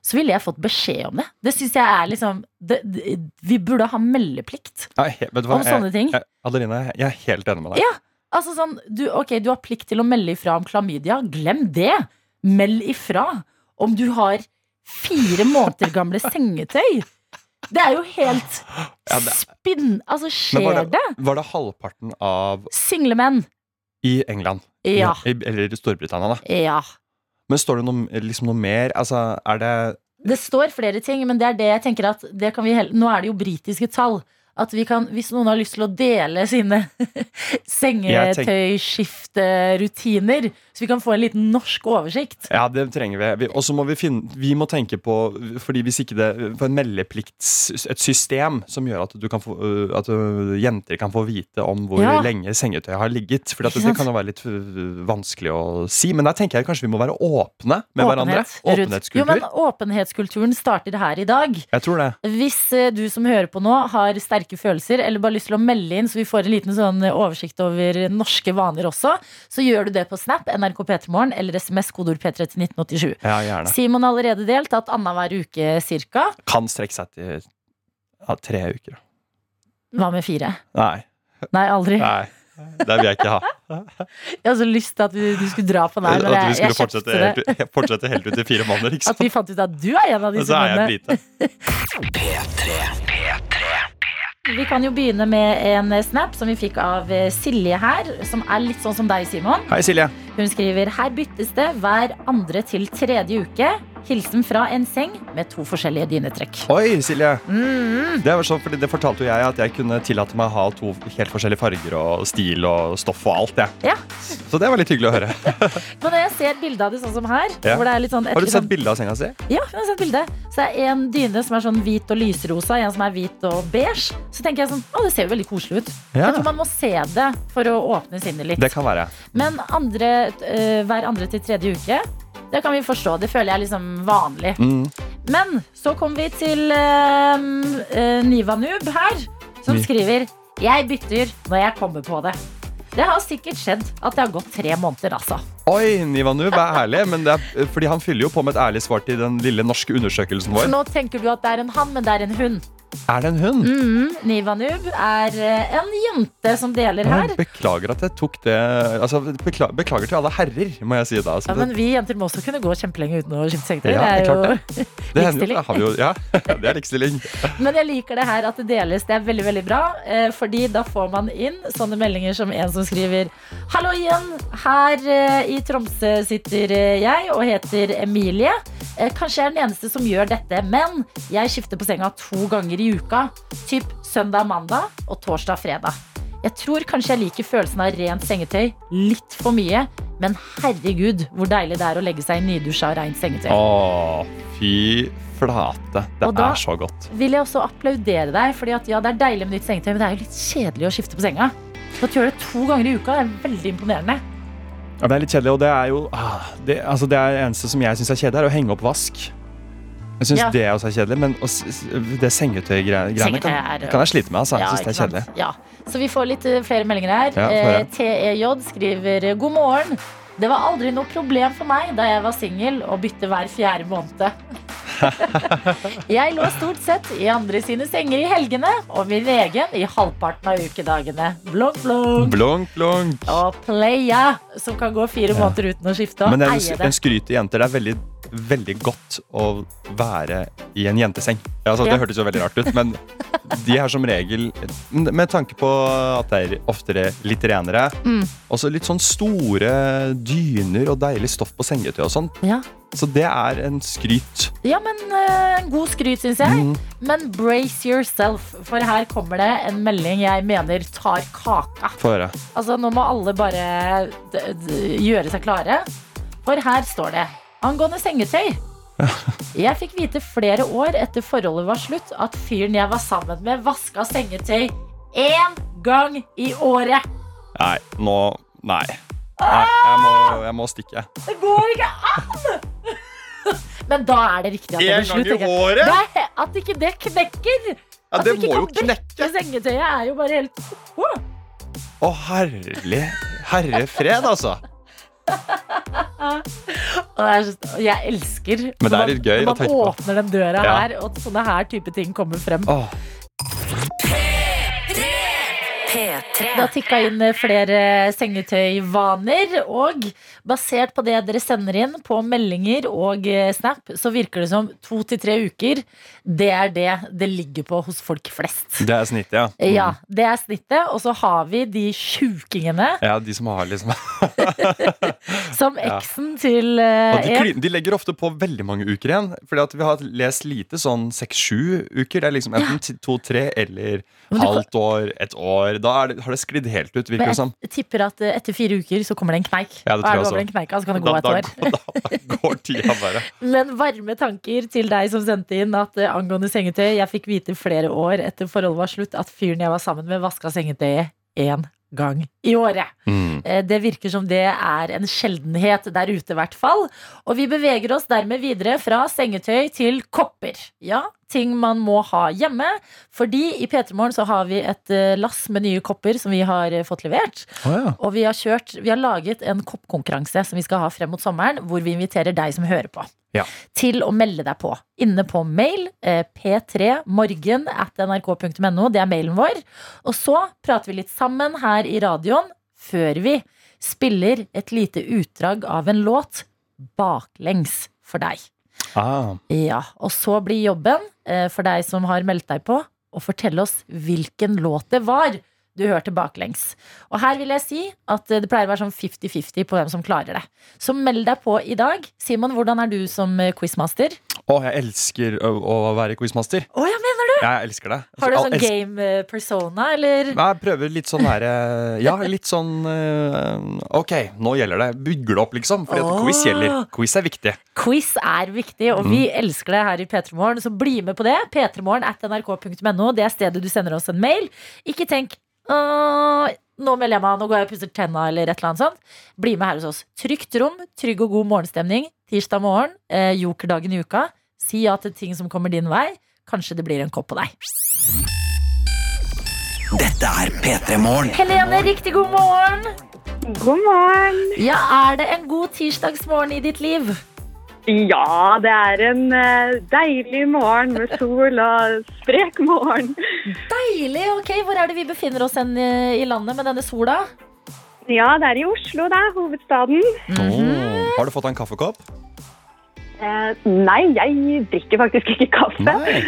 Speaker 4: så ville jeg fått beskjed om det. Det syns jeg er liksom det, det, Vi burde ha meldeplikt
Speaker 5: Nei, he- vet du hva?
Speaker 4: om sånne
Speaker 5: Jeg,
Speaker 4: ting.
Speaker 5: jeg, Adeline, jeg er helt enig med deg.
Speaker 4: Ja. Altså sånn, du, ok, du har plikt til å melde ifra om klamydia. Glem det! Meld ifra om du har fire måneder gamle sengetøy. Det er jo helt
Speaker 5: Ja, det-
Speaker 4: spinn... Altså,
Speaker 5: Men
Speaker 4: skjer
Speaker 5: var
Speaker 4: det?
Speaker 5: det, var det halvparten av
Speaker 4: Single menn.
Speaker 5: i England?
Speaker 4: Ja.
Speaker 5: I, eller i Storbritannia, da.
Speaker 4: Ja.
Speaker 5: Men står det noe, liksom noe mer? Altså, er det
Speaker 4: Det står flere ting, men det er det jeg tenker at det kan vi heller, Nå er det jo britiske tall. At vi kan, Hvis noen har lyst til å dele sine (laughs) sengetøyskifterutiner, så vi kan få en liten norsk oversikt
Speaker 5: Ja, det trenger vi. vi og så må vi finne Vi må tenke på Fordi hvis ikke det På en meldeplikts... Et system som gjør at du kan få øh, At øh, jenter kan få vite om hvor
Speaker 4: Ja.
Speaker 5: lenge sengetøyet har ligget. For
Speaker 4: Ikke
Speaker 5: det,
Speaker 4: sant?
Speaker 5: kan jo være litt øh, vanskelig å si. Men der tenker jeg kanskje vi må være åpne med hverandre.
Speaker 4: rundt- Jo,
Speaker 5: Åpenhetskultur.
Speaker 4: men Åpenhetskulturen starter her i dag.
Speaker 5: Jeg tror det.
Speaker 4: Hvis eh, du som hører på nå har sterke følelser eller bare lyst til å melde inn, så vi får en liten sånn eh, oversikt over norske vaner også, så gjør du det på Snap, NRK P3morgen eller SMS, kodeord P3 til 1987.
Speaker 5: Ja, gjerne.
Speaker 4: Simon har allerede delt at annenhver uke cirka.
Speaker 5: Kan strekke seg til ja, tre uker.
Speaker 4: Hva med fire?
Speaker 5: Nei.
Speaker 4: Nei, aldri.
Speaker 5: Nei. Det vil jeg ikke
Speaker 4: (laughs)
Speaker 5: ha.
Speaker 4: Jeg hadde så lyst til at du, du skulle dra på den her, men
Speaker 5: at vi
Speaker 4: jeg, jeg
Speaker 5: skulle fortsette
Speaker 4: kjøpte det.
Speaker 5: helt, fortsette helt ut i fire måneder, ikke
Speaker 4: At
Speaker 5: sant?
Speaker 4: vi liksom fant ut at du er en av
Speaker 5: Og
Speaker 4: disse
Speaker 5: så er jeg
Speaker 4: mennene.
Speaker 5: brite.
Speaker 4: Vi kan jo begynne med en eh, snap som vi fikk av eh, Silje her, som er litt sånn som deg, Simon.
Speaker 5: Hei, Silje.
Speaker 4: Hun skriver her byttes det hver andre til tredje uke. Hilsen fra en seng med to forskjellige dynetrekk.
Speaker 5: Oi, Silje. Det, var sånn, fordi det fortalte jo jeg at jeg kunne tillate meg å ha to helt forskjellige farger og stil og stoff og alt. Jeg.
Speaker 4: Ja,
Speaker 5: Så det var litt hyggelig å høre.
Speaker 4: Men når jeg ser bildet av det sånn som her
Speaker 5: Ja.
Speaker 4: hvor det er litt sånn et
Speaker 5: Har du
Speaker 4: litt
Speaker 5: sett
Speaker 4: sånn-
Speaker 5: bilde av senga si?
Speaker 4: Ja, jeg har sett bildet. Så er en dyne som er sånn hvit og lysrosa, en som er hvit og beige. Så tenker jeg sånn, å det ser jo veldig koselig ut.
Speaker 5: Ja.
Speaker 4: Jeg tror man må se det for å åpne sinnet litt.
Speaker 5: Det kan være.
Speaker 4: Men andre, eh, hver andre til tredje uke, det kan vi forstå. Det føler jeg er liksom vanlig.
Speaker 5: Mm.
Speaker 4: Men så kom vi til eh, eh, Niva Noob her, som
Speaker 5: Ni-
Speaker 4: skriver Jeg bytter når jeg kommer på det. Det har sikkert skjedd at det har gått tre måneder, altså.
Speaker 5: Oi, Nivanu, vær ærlig. Men det er, fordi han fyller jo på med et ærlig svar til den lille norske undersøkelsen
Speaker 4: Så
Speaker 5: vår.
Speaker 4: nå tenker du at det er en han, men det er en hun. Mm,
Speaker 5: Er det en hund?
Speaker 4: Niva Noob er eh, en jente som deler her.
Speaker 5: Jeg Beklager at jeg tok det altså, bekla- Beklager til alle herrer, må jeg si da. Altså,
Speaker 4: Ja, men vi jenter må også kunne gå kjempelenge uten å skifte sengetøy.
Speaker 5: Ja,
Speaker 4: det er
Speaker 5: det er
Speaker 4: jo...
Speaker 5: det, det hender
Speaker 4: likstilling.
Speaker 5: jo. Det, har vi jo, ja, (laughs) det er likestilling.
Speaker 4: Men jeg liker det her at det deles. Det er veldig veldig bra. eh, Fordi da får man inn sånne meldinger som en som skriver Hallo igjen. Her eh, i Tromsø sitter eh, jeg og heter Emilie. Eh, Kanskje jeg er den eneste som gjør dette, men jeg skifter på senga to ganger i uka. Typ søndag-mandag og torsdag-fredag. Jeg tror kanskje jeg liker følelsen av rent sengetøy litt for mye, men herregud hvor deilig det er å legge seg i nydusja og rent sengetøy.
Speaker 5: Å, fy flate. Det
Speaker 4: Og da-
Speaker 5: er så godt.
Speaker 4: vil jeg også applaudere deg. Fordi at, ja, det er deilig med nytt sengetøy, men det er jo litt kjedelig å skifte på senga. Så At du gjør det to ganger i uka, det er veldig imponerende.
Speaker 5: Ja, det er litt kjedelig, og det er jo ah, det, altså det er det eneste som jeg syns er kjedelig, er å henge opp vask. Jeg syns
Speaker 4: Ja.
Speaker 5: det også er kjedelig, men å s- s- det sengetøygreiene
Speaker 4: Sengetøy
Speaker 5: kan,
Speaker 4: er-
Speaker 5: kan jeg slite med. Altså. jeg syns
Speaker 4: ikke
Speaker 5: det er
Speaker 4: sant?
Speaker 5: kjedelig.
Speaker 4: Ja. Så vi får litt eh, flere meldinger her.
Speaker 5: Ja, får
Speaker 4: eh,
Speaker 5: jeg.
Speaker 4: TEJ skriver god morgen. Det var aldri noe problem for meg da jeg var singel og bytte hver fjerde
Speaker 5: (laughs)
Speaker 4: måned. jeg lå stort sett i andre sine senger i helgene og min egen i halvparten av ukedagene. Blunk, blunk.
Speaker 5: Blunk, blunk.
Speaker 4: Og playa, som kan gå fire måneder uten å skifte og
Speaker 5: Men det er
Speaker 4: eie
Speaker 5: en,
Speaker 4: det.
Speaker 5: en skryt til jenter. Det er veldig, veldig godt å være i en jenteseng. Ja, Altså,
Speaker 4: Ja.
Speaker 5: Det hørtes jo veldig rart ut, men de er som regel Med tanke på at det er oftere litt renere,
Speaker 4: Mm.
Speaker 5: også litt sånn store dyner og deilig stoff på sengetøy og sånn.
Speaker 4: Ja.
Speaker 5: Så det er en skryt.
Speaker 4: Ja, men eh, god skryt, syns jeg. Men brace yourself, for her kommer det en melding jeg mener tar kaka.
Speaker 5: Få høre.
Speaker 4: Altså, nå må alle bare d d gjøre seg klare. For her står det angående sengetøy. Jeg fikk vite flere år etter forholdet var slutt, at fyren jeg var sammen med, vaska sengetøy én gang i året.
Speaker 5: Nei, nå Nei. nei jeg, må, jeg må stikke.
Speaker 4: Det går ikke an! (laughs) Men da er det riktig at det
Speaker 5: En
Speaker 4: blir slutt.
Speaker 5: gang i
Speaker 4: tenker jeg.
Speaker 5: året?
Speaker 4: Nei, At ikke det knekker!
Speaker 5: Ja,
Speaker 4: at
Speaker 5: det
Speaker 4: du ikke
Speaker 5: må jo
Speaker 4: kan brekke sengetøyet, er jo bare helt Åh!
Speaker 5: Å, herlig Herre fred, altså.
Speaker 4: Og det er så- og Jeg elsker
Speaker 5: Men det er
Speaker 4: når
Speaker 5: litt gøy
Speaker 4: man,
Speaker 5: å
Speaker 4: når
Speaker 5: tenke
Speaker 4: man
Speaker 5: på.
Speaker 4: åpner den døra
Speaker 5: Ja.
Speaker 4: her, og sånne her type ting kommer frem.
Speaker 5: Åh,
Speaker 3: P3.
Speaker 4: Det har tikka inn eh, flere sengetøyvaner, og basert på det dere sender inn på meldinger og eh, Snap, så virker det som to til tre uker, det er det det ligger på hos folk flest.
Speaker 5: Det er snittet, ja.
Speaker 4: Ja, det er snittet, og så har vi de sjukingene
Speaker 5: Ja, de som
Speaker 4: (laughs)
Speaker 5: har liksom
Speaker 4: som
Speaker 5: Ja.
Speaker 4: eksen til eh,
Speaker 5: Og de,
Speaker 4: en.
Speaker 5: klin- de legger ofte på veldig mange uker igjen. Fordi at vi har lest lite sånn seks-sju uker. Det er liksom enten ti- to-tre eller
Speaker 4: Men du kan-
Speaker 5: halvt år, et år. Da er det, har det sklidd helt ut, virker
Speaker 4: Men
Speaker 5: det som.
Speaker 4: jeg tipper at eh, etter fire uker så kommer det en kneik.
Speaker 5: Ja,
Speaker 4: Og er
Speaker 5: det tror jeg
Speaker 4: over
Speaker 5: også.
Speaker 4: en kneika, så kan det gå
Speaker 5: Da, da,
Speaker 4: et år.
Speaker 5: går- da går tida
Speaker 4: (laughs)
Speaker 5: bare.
Speaker 4: Men varme tanker til deg som sendte inn at eh, angående sengetøy Jeg fikk vite flere år etter forholdet var slutt at fyren jeg var sammen med, vaska sengetøyet én gang i året.
Speaker 5: Mm.
Speaker 4: Eh, Det virker som det er en sjeldenhet der ute, i hvert fall. Og vi beveger oss dermed videre fra sengetøy til kopper. Ja, ting man må ha hjemme. Fordi i P3 Morgen så har vi et eh, lass med nye kopper som vi har eh, fått levert. Og vi har, kjørt, vi har laget en koppkonkurranse som vi skal ha frem mot sommeren, hvor vi inviterer deg som hører på.
Speaker 5: Ja.
Speaker 4: Til å melde deg på. Inne på mail eh, p3morgen at nrk.no. Det er mailen vår. Og så prater vi litt sammen her i radioen før vi spiller et lite utdrag av en låt baklengs for deg.
Speaker 5: Ah.
Speaker 4: Ja, Og så blir jobben eh, for deg som har meldt deg på, å fortelle oss hvilken låt det var du hørte baklengs. Og her vil jeg si at eh, det pleier å være sånn 50-50 på hvem som klarer det. Så meld deg på i dag. Simon, hvordan er du som eh, quizmaster?
Speaker 5: Å, jeg elsker å, å være quizmaster.
Speaker 4: Å, jeg mener du!
Speaker 5: Jeg elsker det.
Speaker 4: Har du
Speaker 5: Jeg
Speaker 4: sånn
Speaker 5: elsker-
Speaker 4: game eh, persona, eller?
Speaker 5: Nei, Jeg prøver litt sånn der eh, Ja, litt sånn eh, Ok, nå gjelder det. Bygger det opp, liksom. Fordi at
Speaker 4: Åh.
Speaker 5: quiz gjelder. Quiz er viktig.
Speaker 4: Quiz er viktig, og vi elsker det her i P3morgen, så bli med på det. P3morgen at nrk.no. Det er stedet du sender oss en mail. Ikke tenk «Åh, nå melder jeg meg, nå går jeg og pusser tenna, eller et eller annet sånt. Bli med her hos oss. Trygt rom, trygg og god morgenstemning. Tirsdag morgen, eh, jokerdagen i uka. Si ja til ting som kommer din vei. Kanskje det blir en kopp på deg.
Speaker 2: Dette er P3 Morgen.
Speaker 4: Helene, riktig god morgen!
Speaker 6: God morgen.
Speaker 4: Ja, er det en god tirsdagsmorgen i ditt liv?
Speaker 6: Ja, det er en eh, deilig morgen med sol og sprek morgen.
Speaker 4: Deilig! Ok, hvor er det vi befinner oss hen eh, i landet med denne sola?
Speaker 6: Ja, det er i Oslo, da. Hovedstaden.
Speaker 5: Åh, Har du fått deg en kaffekopp?
Speaker 6: Eh, nei, jeg drikker faktisk ikke kaffe.
Speaker 5: Nei.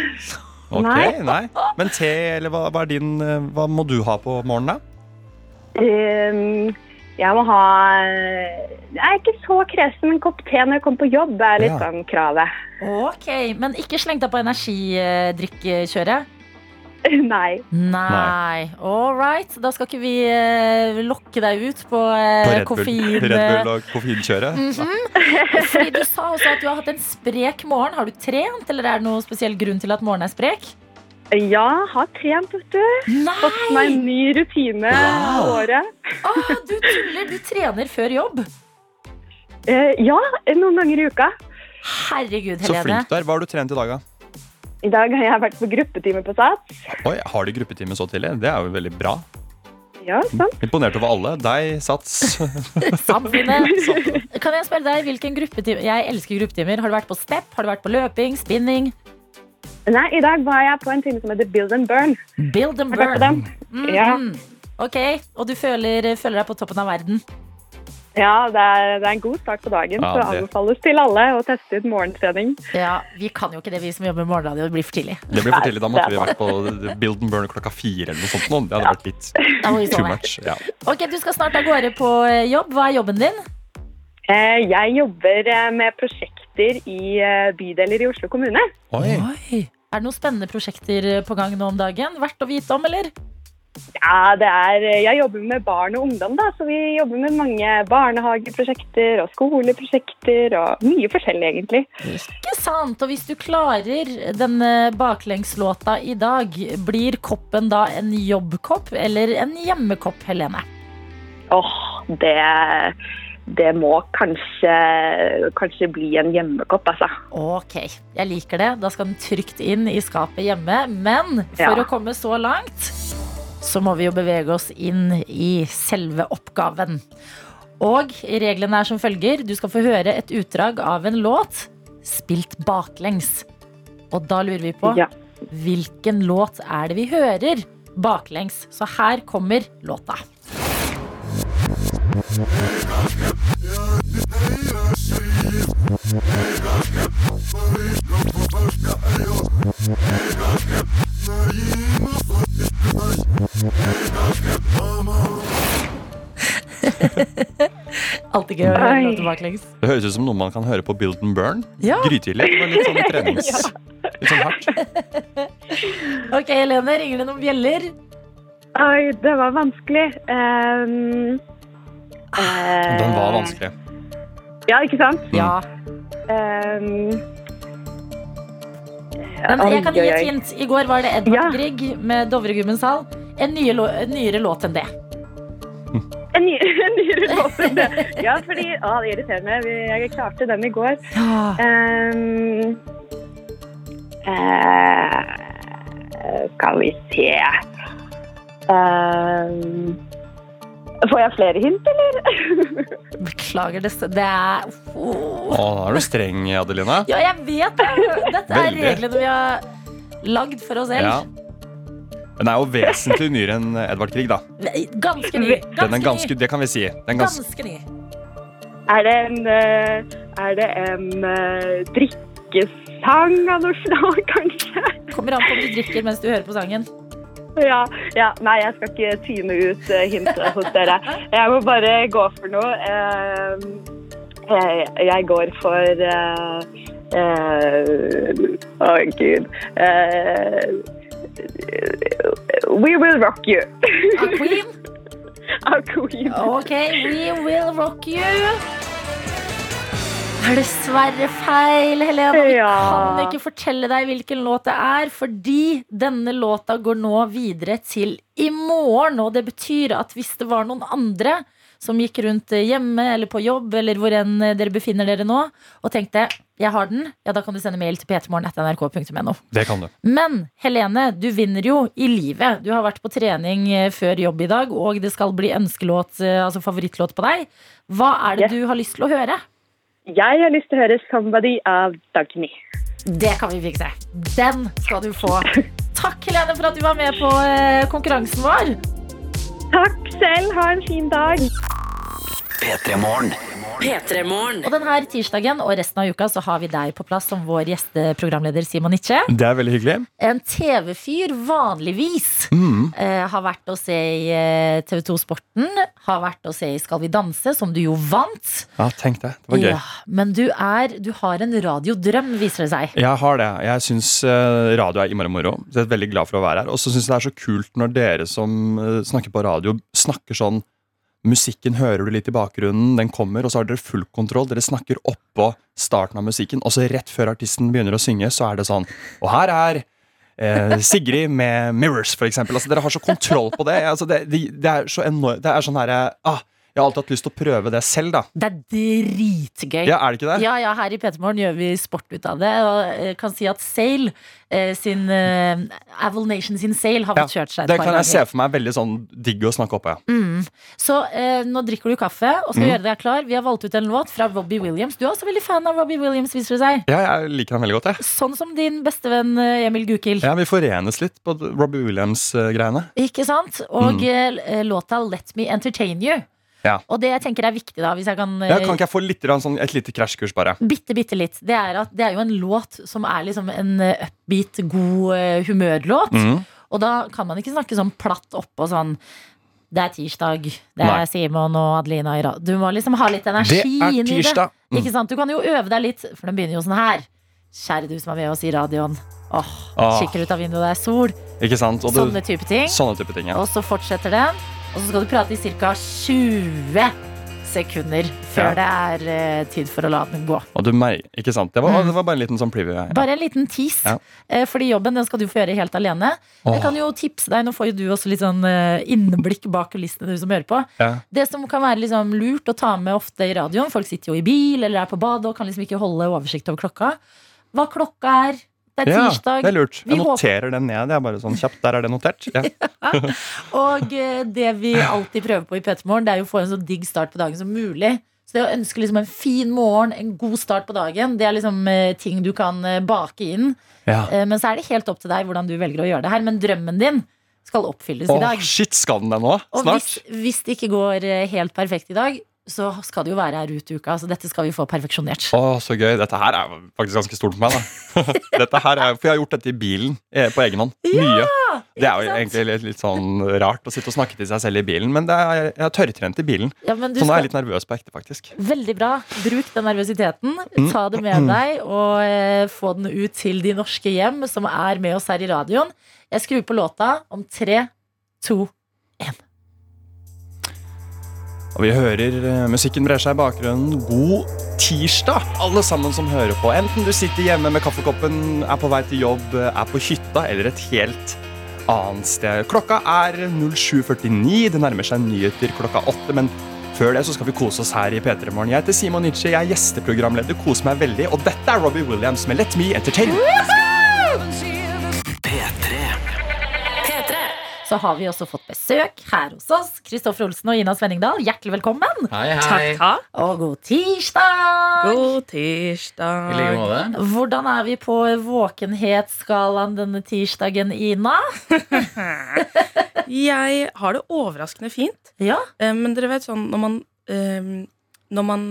Speaker 5: Ok,
Speaker 6: Nei.
Speaker 5: nei. Men te, eller hva, hva er din eh, Hva må du ha på morgenen, da?
Speaker 6: Eh, jeg må ha eh, Jeg er ikke så kresen, men en kopp te når jeg kommer på jobb er litt
Speaker 5: Ja.
Speaker 6: sånn kravet. (laughs)
Speaker 4: Ok, men ikke sleng deg på energidrikkekjøret?
Speaker 6: nei.
Speaker 4: Nei. All right, da skal ikke vi eh, lokke deg ut på, eh,
Speaker 5: På Red Bull,
Speaker 4: koffein. eh. Mhm.
Speaker 5: Red Bull og koffeinkjøret?
Speaker 4: Fordi du sa også at du har hatt en sprek morgen. Har du trent, eller er det noen spesiell grunn til at morgenen er sprek?
Speaker 6: Ja, har trent, vet du.
Speaker 4: Nei!
Speaker 6: Fått meg en ny rutine wow. året.
Speaker 4: Ah, du tuller! Du trener før jobb.
Speaker 6: Eh, ja, noen ganger i uka.
Speaker 4: Herregud,
Speaker 5: Så
Speaker 4: Helene. (laughs)
Speaker 5: flink du er. Hva har du trent i dag, da?
Speaker 6: I dag har jeg vært på gruppetime på SATS.
Speaker 5: Oi, Har de gruppetime så tidlig? Det er jo veldig bra.
Speaker 6: Ja, sant.
Speaker 5: Imponert over alle. Deg, Sats. (laughs)
Speaker 4: Samfunnet. Kan jeg spørre deg, hvilken gruppetime Jeg elsker gruppetimer. Har du vært på step? Har du vært på løping? Spinning?
Speaker 6: Nei, i dag var jeg på en time som heter Build and Burn.
Speaker 4: Build and
Speaker 6: Har du vært på
Speaker 4: burn?
Speaker 6: den? Ja,
Speaker 4: Mm, Ok, Og du føler, føler deg på toppen av verden?
Speaker 6: ja det, er, det er en god start på dagen,
Speaker 5: Ja,
Speaker 6: så
Speaker 5: det-
Speaker 6: anbefales til alle å teste ut morgentrening.
Speaker 4: Ja, Vi kan jo ikke det, vi som jobber med morgenradio. Det blir for tidlig.
Speaker 5: Det blir for tidlig. Da måtte vi vært på Build and Burn klokka fire eller noe sånt. nå. Det hadde vært litt
Speaker 4: Da må vi
Speaker 5: too
Speaker 4: sove.
Speaker 5: much. Ja.
Speaker 4: Ok, Du skal snart av gårde på eh, jobb. Hva er jobben din?
Speaker 6: Eh, Jeg jobber eh, med prosjekter i eh, bydeler i Oslo kommune.
Speaker 5: Oi.
Speaker 4: Er det noen spennende prosjekter eh, på gang nå om dagen? Verdt å vite om, eller?
Speaker 6: Ja, det er, eh, jeg jobber med barn og ungdom, da, så vi jobber med mange barnehageprosjekter og skoleprosjekter og mye forskjellig, egentlig.
Speaker 4: Ikke sant? Og hvis du klarer denne baklengslåta i dag, blir koppen da en jobbkopp eller en hjemmekopp, Helene?
Speaker 6: Åh, det, det må kanskje, kanskje bli en hjemmekopp, altså.
Speaker 4: Ok, jeg liker det. Da skal den trygt inn i skapet hjemme. Men for
Speaker 6: Ja.
Speaker 4: å komme så langt, så må vi jo bevege oss inn i selve oppgaven. Og reglene er som følger. Du skal få høre et utdrag av en låt spilt baklengs. Og da lurer vi på
Speaker 6: Ja.
Speaker 4: hvilken låt er det vi hører baklengs. Så her kommer låta. (laughs) Alltid gøy å høre
Speaker 6: Oi.
Speaker 4: låter baklengs.
Speaker 5: Det høres ut som noe man kan høre på Build and Burn.
Speaker 4: Ja.
Speaker 5: Grytidlig. Det var litt sånn trenings... Litt sånn hardt.
Speaker 4: Ok, Helene, ringer det noen bjeller?
Speaker 6: Oi, det var vanskelig. Ehm, eh,
Speaker 5: Den var vanskelig.
Speaker 6: Ja, ikke sant?
Speaker 4: Ja.
Speaker 6: Ehm,
Speaker 4: Men
Speaker 6: Oi,
Speaker 4: jeg kan gi
Speaker 6: oi,
Speaker 4: et
Speaker 6: oi.
Speaker 4: hint. I går var det Edvard
Speaker 6: Ja.
Speaker 4: Grieg med Dovregubbens hall. En, nye lå- en nyere låt enn det.
Speaker 6: en ny- (laughs) en nyere låt enn det. Ja, fordi Å, det irriterer meg. Vi- Jeg klarte den i går. Ehm, eh, skal vi se Ehm, Får jeg flere hint, eller?
Speaker 4: Beklager, det, det er Åh.
Speaker 5: Å, nå er du streng, Adelina.
Speaker 4: Ja, jeg vet det! Dette er
Speaker 5: Veldig.
Speaker 4: reglene vi har lagd for oss selv.
Speaker 5: Ja. Den er jo vesentlig nyere enn Edvard Grieg, da.
Speaker 4: Nei, Ganske ny.
Speaker 5: Den er ganske,
Speaker 4: ny.
Speaker 5: det kan vi si. Den er ganske,
Speaker 4: Ganske ny.
Speaker 6: er det en, eh, er det en eh, drikkesang av noe slag, (laughs) kanskje?
Speaker 4: Kommer an på om du drikker mens du hører på sangen.
Speaker 6: Ja, ja. Nei, jeg skal ikke tyne ut eh, hintet hos dere. Jeg må bare gå for noe. Eh, jeg, jeg går for eh, eh, Å, gud. Eh, we will rock you (laughs)
Speaker 4: Ah, Queen.
Speaker 6: av Queen.
Speaker 4: (laughs) Ok, we will rock you. Er dessverre feil, Helene. Vi
Speaker 6: Ja.
Speaker 4: kan ikke fortelle deg hvilken låt det er, fordi denne låta går nå videre til i morgen. Og det betyr at hvis det var noen andre som gikk rundt hjemme eller på jobb eller hvor enn dere befinner dere nå, og tenkte 'jeg har den', ja, da kan du sende mail til p3morgen.nrk.no.
Speaker 5: det kan du.
Speaker 4: Men Helene, du vinner jo i livet. Du har vært på trening eh, før jobb i dag, og det skal bli ønskelåt, eh, altså favorittlåt på deg. Hva er det
Speaker 6: Yes.
Speaker 4: du har lyst til å høre?
Speaker 6: Jeg har lyst til å høre 'Somebody' av Dagny.
Speaker 4: Det kan vi fikse. Den skal du få. Takk, Helene, for at du var med på eh, konkurransen vår.
Speaker 6: Takk selv. Ha en fin dag.
Speaker 2: P3 Morgen.
Speaker 3: P3 Morgen.
Speaker 4: Og denne tirsdagen og resten av uka så har vi deg på plass som vår gjesteprogramleder Simon Nitsche.
Speaker 5: Det er veldig hyggelig.
Speaker 4: En TV-fyr vanligvis
Speaker 5: Mm.
Speaker 4: eh, har vært å se i eh, TV 2 Sporten, har vært å se i Skal vi danse, som du jo vant.
Speaker 5: Ja, tenk det. Det var gøy.
Speaker 4: Ja, men du, er, du har en radiodrøm, viser det seg.
Speaker 5: Jeg har det. Jeg syns eh, radio er innmari moro. Så jeg er veldig glad for å være her. Og så syns jeg det er så kult når dere som eh, snakker på radio, snakker sånn Musikken hører du litt i bakgrunnen, den kommer, og så har dere full kontroll. Dere snakker oppå starten av musikken, og så rett før artisten begynner å synge, så er det sånn Og her er eh, Sigrid med 'Mirrors', for eksempel. Altså, dere har så kontroll på det. Altså, det, det, det er så enormt Det er sånn herre ah, Jeg har alltid hatt lyst til å prøve det selv, da.
Speaker 4: Det er dritgøy.
Speaker 5: Ja, er det ikke det?
Speaker 4: Ja, ja, her i Petermorgen gjør vi sport ut av det. Og eh, kan si at Sail eh, sin eh, Aval Nation sin Sail har
Speaker 5: Ja,
Speaker 4: fått kjørt seg
Speaker 5: Det
Speaker 4: et par
Speaker 5: kan jeg se
Speaker 4: ganger.
Speaker 5: for meg er veldig sånn digg å snakke oppå, ja.
Speaker 4: Så eh, nå drikker du kaffe og
Speaker 5: Mm.
Speaker 4: skal gjøre deg klar. Vi har valgt ut en låt fra Robbie Williams. Du er også veldig fan av Robbie Williams, viser det seg.
Speaker 5: Ja, jeg liker han veldig godt, jeg.
Speaker 4: Sånn som din bestevenn eh, Emil Gukild.
Speaker 5: Ja, Vi forenes litt på Robbie eh, Williams-greiene.
Speaker 4: Ikke sant? Og eh, låta Let Me Entertain You.
Speaker 5: Mm. Ja.
Speaker 4: Og det jeg tenker er viktig, da, hvis jeg kan eh,
Speaker 5: Ja, kan ikke jeg få litt, grann sånn, et lite krasjkurs, bare?
Speaker 4: Bitte, bitte litt. Det er, at, det er jo en låt som er liksom en eh, upbeat, god eh, humørlåt.
Speaker 5: Mhm.
Speaker 4: Og da kan man ikke snakke sånn platt oppå sånn Det er tirsdag, det
Speaker 5: Nei.
Speaker 4: er Simon og Adelina i rad. Du må liksom ha litt energi
Speaker 5: Det er
Speaker 4: inn i det.
Speaker 5: tirsdag. Mm.
Speaker 4: Ikke sant? Du kan jo øve deg litt, for den begynner jo sånn her. Kjære du som er med oss i radioen. Åh,
Speaker 5: Åh.
Speaker 4: kikker ut av vinduet, det er sol.
Speaker 5: Ah, Ikke sant? Og
Speaker 4: Sånne
Speaker 5: det,
Speaker 4: type ting.
Speaker 5: sånne type ting, ja.
Speaker 4: Og så fortsetter den, og så skal du prate i ca. 20 sekunder før det er eh, tid for å la den gå.
Speaker 5: Og du meg, ikke sant? Det var, det var bare en liten sånn preview. Ja.
Speaker 4: Mm. Bare en liten tis,
Speaker 5: Ja.
Speaker 4: eh, fordi jobben den skal du få gjøre helt alene.
Speaker 5: Åh.
Speaker 4: Jeg kan jo tipse deg, Nå får jo du også litt sånn eh, innblikk bak kulissene, du som hører på.
Speaker 5: Ja.
Speaker 4: Det som kan være liksom lurt å ta med ofte i radioen, folk sitter jo i bil eller er på badet og kan liksom ikke holde oversikt over klokka. Hva klokka er. Det er
Speaker 5: Ja,
Speaker 4: tirsdag.
Speaker 5: det er lurt.
Speaker 4: Vi
Speaker 5: Jeg noterer den ned. Jeg er bare sånn kjapt, Der er det notert. Ja.
Speaker 4: (laughs) Og eh, det vi alltid prøver på i P3morgen, det er jo å få en så digg start på dagen som mulig. Så det å ønske liksom en fin morgen, en god start på dagen, det er liksom eh, ting du kan eh, bake inn.
Speaker 5: Ja.
Speaker 4: Eh, Men så er det helt opp til deg hvordan du velger å gjøre det her. Men drømmen din skal oppfylles i
Speaker 5: Åh,
Speaker 4: dag.
Speaker 5: shit, skal den det nå?
Speaker 4: Og
Speaker 5: Snart?
Speaker 4: hvis, hvis det ikke går eh, helt perfekt i dag, så skal det jo være her ut i uka. Så dette skal vi få perfeksjonert.
Speaker 5: Å, så gøy. Dette her er faktisk ganske stort for meg. Da. (laughs) dette her er, for jeg har gjort dette i bilen eh, på egen hånd. Mye. Det er jo
Speaker 4: ikke sant?
Speaker 5: egentlig litt, litt sånn rart å sitte og snakke til seg selv i bilen, men det er, jeg har tørrtrent i bilen.
Speaker 4: Ja, men du
Speaker 5: Så nå er
Speaker 4: skal,
Speaker 5: jeg litt nervøs på ekte, faktisk.
Speaker 4: Veldig bra. Bruk den nervøsiteten. Ta det med deg, og eh, få den ut til de norske hjem som er med oss her i radioen. Jeg skrur på låta om tre, to
Speaker 5: Og vi hører eh, musikken brer seg i bakgrunnen. God tirsdag, alle sammen som hører på. Enten du sitter hjemme med kaffekoppen, er på vei til jobb, eh, er på hytta eller et helt annet sted. Klokka er 07.49. Det nærmer seg nyheter klokka åtte. Men før det så skal vi kose oss her i P3 Morgen. Jeg heter Simon Nietzsche, jeg er gjesteprogramleder, koser meg veldig. Og dette er Robbie Williams med Let Me Entertain.
Speaker 2: P3.
Speaker 3: P3.
Speaker 4: så har vi også fått besøk her hos oss. Kristoffer Olsen og Ina Svenningdal, hjertelig velkommen.
Speaker 7: Hei, hei.
Speaker 8: Takk, takk.
Speaker 4: Og god tirsdag!
Speaker 8: God
Speaker 7: I like
Speaker 8: tirsdag.
Speaker 7: måte.
Speaker 4: Hvordan er vi på våkenhetsskalaen denne tirsdagen, Ina?
Speaker 8: Jeg har det overraskende fint,
Speaker 4: Ja,
Speaker 8: eh, men dere vet sånn når man, eh, når man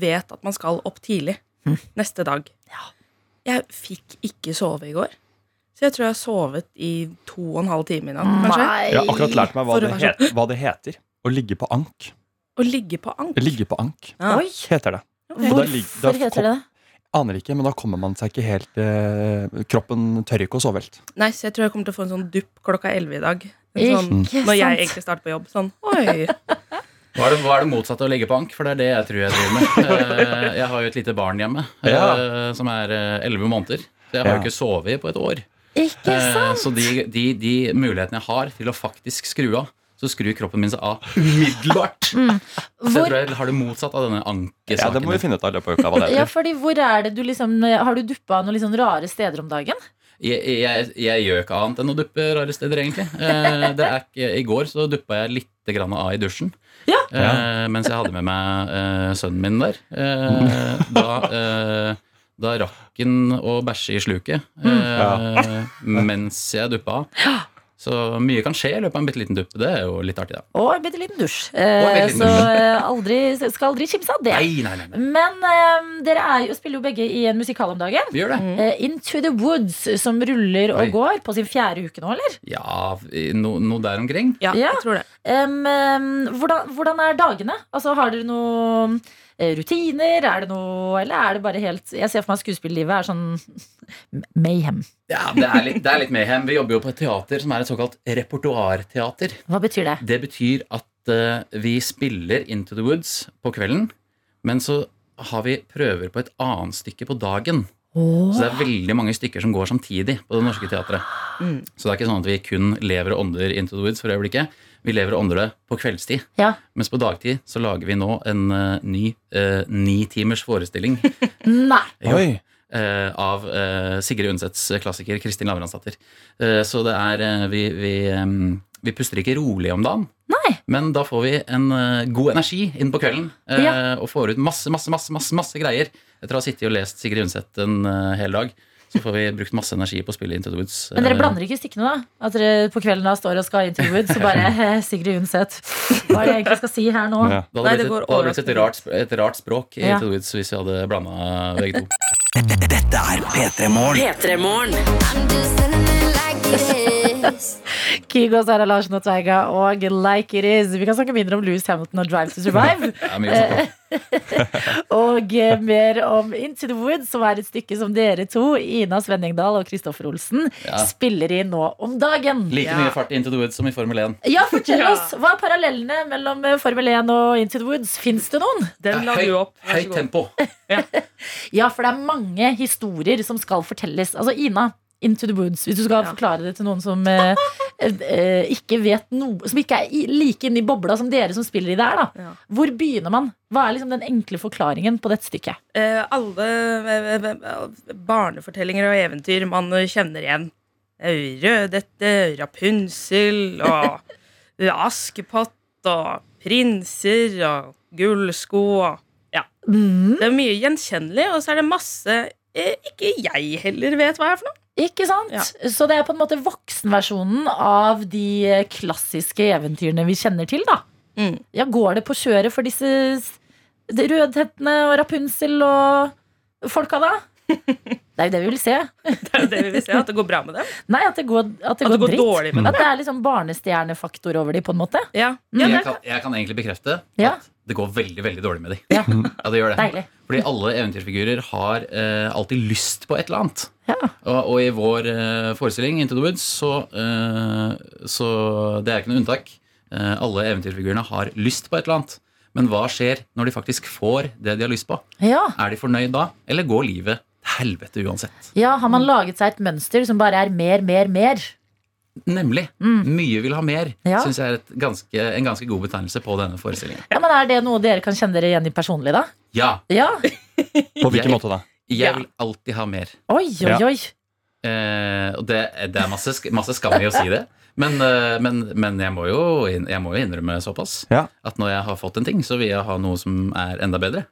Speaker 8: vet at man skal opp tidlig
Speaker 4: Hm.
Speaker 8: neste dag. Jeg fikk ikke sove i går, så jeg tror jeg har sovet i to og en halv time i natt, kanskje.
Speaker 4: Mm. Nei.
Speaker 5: Jeg har akkurat lært meg hva
Speaker 8: For å
Speaker 5: det,
Speaker 8: være
Speaker 5: het, hva det heter. Å ligge på ank.
Speaker 8: Å ligge på ank.
Speaker 5: Ligge på ank
Speaker 8: Ja.
Speaker 4: Oi,
Speaker 5: heter det. Og da lig- da
Speaker 4: hvorfor heter det det?
Speaker 5: Aner ikke, men da kommer man seg ikke helt eh, Kroppen tør ikke å sove helt.
Speaker 8: Nei, så jeg tror jeg kommer til å få en sånn dupp klokka elleve i dag. En
Speaker 4: Ikke
Speaker 8: Sånn, når jeg
Speaker 4: sant.
Speaker 8: egentlig starter på jobb. Sånn,
Speaker 4: (laughs)
Speaker 8: oi.
Speaker 7: Hva er det, hva er det motsatte av å ligge på ank? For det er det jeg tror jeg driver med.
Speaker 5: (laughs)
Speaker 7: Eh, Jeg har jo et lite barn hjemme eh,
Speaker 5: Ja.
Speaker 7: som er eh, elleve måneder. Så jeg har
Speaker 5: Ja.
Speaker 7: jo ikke sovet på et år.
Speaker 4: Ikke
Speaker 7: Eh,
Speaker 4: sant?
Speaker 7: Så de, de, de mulighetene jeg har til å faktisk skru av, så skrur kroppen min seg av. Så jeg
Speaker 4: Hvor,
Speaker 7: tror jeg har det motsatt av denne
Speaker 5: Ja, Det
Speaker 7: ankesaken.
Speaker 5: må vi finne ut av i løpet av uka. Hva det
Speaker 4: ja,
Speaker 5: heter.
Speaker 4: fordi hvor er det du liksom Har du duppa noen litt sånn rare steder om dagen?
Speaker 7: jeg, jeg, jeg gjør ikke annet enn å duppe rare steder, egentlig. Eh, Det er ikke, I går så duppa jeg litt grann av i dusjen.
Speaker 4: Ja.
Speaker 7: Eh, mens jeg hadde med meg eh, sønnen min der. Eh, da, eh, da rakk han å bæsje i sluket eh, mens jeg duppa av. Så mye kan skje i løpet av en bitte liten dupp. Det er jo litt artig, da.
Speaker 4: Og en bitte liten dusj.
Speaker 7: en
Speaker 4: Eh,
Speaker 7: bitte liten
Speaker 4: så
Speaker 7: dusj.
Speaker 4: eh, aldri, skal aldri kimse av det.
Speaker 7: Nei, nei, nei, nei.
Speaker 4: Men eh, dere er jo, spiller jo begge i en musikal om dagen.
Speaker 7: Vi gjør det.
Speaker 4: Eh, Into the Woods, som ruller og
Speaker 7: Mm. Oi.
Speaker 4: går på sin fjerde uke nå, eller?
Speaker 7: Ja, i no, noe der omkring.
Speaker 8: Ja,
Speaker 4: Ja.
Speaker 8: jeg tror det.
Speaker 4: Em, em, hvordan, hvordan er dagene? Altså, har dere noen rutiner? Er det noe, eller er det bare helt Jeg ser for meg at skuespillerlivet er sånn (laughs) mayhem.
Speaker 7: Ja, Det er litt, det er litt mayhem. Vi jobber jo på et teater som er et såkalt repertoarteater.
Speaker 4: Hva betyr det?
Speaker 7: Det betyr at eh, vi spiller Into the Woods på kvelden, men så har vi prøver på et annet stykke på dagen.
Speaker 4: Åh.
Speaker 7: Så det er veldig mange stykker som går samtidig på det norske teatret.
Speaker 8: Mm.
Speaker 7: Så det er ikke sånn at vi kun lever og ånder Into the Woods for øyeblikket. Vi lever og ånder det på kveldstid.
Speaker 4: Ja.
Speaker 7: Mens på dagtid så lager vi nå en eh, ny eh, ni timers forestilling
Speaker 4: Nei!
Speaker 5: (laughs) Oi,
Speaker 7: eh, av eh, Sigrid Undsets klassiker Kristin Lavransdatter. Eh, så det er eh, vi, vi, em, vi puster ikke rolig om dagen. Men da får vi en eh, god energi inn på kvelden eh, og får ut masse, masse, masse, masse, masse greier. Etter å ha sittet og lest Sigrid Undset en eh, hel dag, så får vi brukt masse energi på å spille Into the Woods.
Speaker 4: Men dere
Speaker 7: Eh,
Speaker 4: blander ikke stykkene, da? At dere på kvelden da står og skal ha intervjuet, så bare (laughs) eh, Sigrid Undset. Hva er det jeg egentlig skal si her nå?
Speaker 5: Ja.
Speaker 7: Da
Speaker 8: Nei,
Speaker 7: hadde
Speaker 8: det
Speaker 7: det blitt,
Speaker 8: går
Speaker 7: et- da hadde det blitt et, rart, sp- et rart språk i
Speaker 4: Ja.
Speaker 7: Into the Woods hvis vi hadde blanda begge to.
Speaker 2: Dette er P3 Morgen.
Speaker 3: P3 Morgen.
Speaker 9: I'm just sending it like it is.
Speaker 4: Kygo, Sara Larsen og Teiga og Like It Is. Vi kan snakke mindre om Louis Hamilton og Drive to Survive.
Speaker 7: Det er mye å
Speaker 8: (laughs)
Speaker 7: snakke om.
Speaker 4: Og eh, mer om Into the Woods, som er et stykke som dere to, Ina Svenningdal og Kristoffer Olsen,
Speaker 7: Ja.
Speaker 4: spiller i nå om dagen.
Speaker 7: Like mye fart i Into the Woods som i Formel 1.
Speaker 4: Ja, fortell oss, Hva er parallellene mellom eh, Formel 1 og Into the Woods? Fins det noen?
Speaker 8: Den la du opp. Vær
Speaker 7: Høyt
Speaker 8: så god.
Speaker 7: tempo.
Speaker 4: Ja, for det er mange historier som skal fortelles. Altså, Ina, Into the Woods, hvis du skal
Speaker 8: Ja.
Speaker 4: forklare det til noen som eh, eh, ikke vet noe Som ikke er i, like inne i bobla som dere som spiller i det her, da.
Speaker 8: Ja.
Speaker 4: Hvor begynner man? Hva er liksom den enkle forklaringen på dette stykket?
Speaker 8: Eh, alle eh, eh, eh, barnefortellinger og eventyr man eh, kjenner igjen. Eh, Rødhette, Rapunsel (laughs) og Askepott og prinser og gullsko og
Speaker 4: Mm.
Speaker 8: Det er mye gjenkjennelig, og så er det masse eh, ikke jeg heller vet hva jeg er for noe.
Speaker 4: Ikke sant?
Speaker 8: Ja.
Speaker 4: Så det er på en måte voksenversjonen av de klassiske eventyrene vi kjenner til, da.
Speaker 8: Mm.
Speaker 4: Ja, går det på kjøret for disse s- de rødhettene og Rapunzel og folka, da? Det er jo det vi vil se.
Speaker 8: Det er jo det vi vil se, at det går bra med dem.
Speaker 4: Nei, at det går, at det
Speaker 8: At
Speaker 4: går,
Speaker 8: det går
Speaker 4: dritt.
Speaker 8: dårlig med dem.
Speaker 4: At det er liksom barnestjernefaktor over de, på en måte.
Speaker 8: Ja, Mm.
Speaker 4: Ja,
Speaker 7: jeg,
Speaker 4: det-
Speaker 7: kan, jeg kan egentlig bekrefte
Speaker 4: Ja.
Speaker 7: at det går veldig veldig dårlig med dem. (laughs)
Speaker 4: Ja.
Speaker 7: det gjør det.
Speaker 4: Deilig.
Speaker 7: Fordi alle eventyrfigurer har eh, alltid lyst på et eller annet.
Speaker 4: Ja.
Speaker 7: Og, og i vår eh, forestilling, Into the Woods, så, eh, så det er ikke noe unntak. Eh, alle eventyrfigurene har lyst på et eller annet. Men hva skjer når de faktisk får det de har lyst på?
Speaker 4: Ja.
Speaker 7: Er de fornøyd da, eller går livet til helvete uansett?
Speaker 4: ja, har man laget seg et mønster som bare er mer, mer, mer?
Speaker 7: Nemlig. Mye vil ha mer,
Speaker 4: Mm. Ja.
Speaker 7: syns jeg er et ganske, en ganske god betegnelse på denne forestillingen.
Speaker 4: Ja, men Er det noe dere kan kjenne dere igjen i personlig, da?
Speaker 7: Ja,
Speaker 4: Ja.
Speaker 5: På
Speaker 7: Jeg-
Speaker 5: hvilken måte da?
Speaker 7: jeg vil alltid ha mer.
Speaker 4: Oi, oi,
Speaker 5: Ja.
Speaker 4: oi.
Speaker 7: Eh, og det, det er masse, sk- masse skam i å si det. Men, eh, men, men jeg, må jo, inn- jeg må jo innrømme såpass
Speaker 5: Ja.
Speaker 7: at når jeg har fått en ting, så vil jeg ha noe som er enda bedre.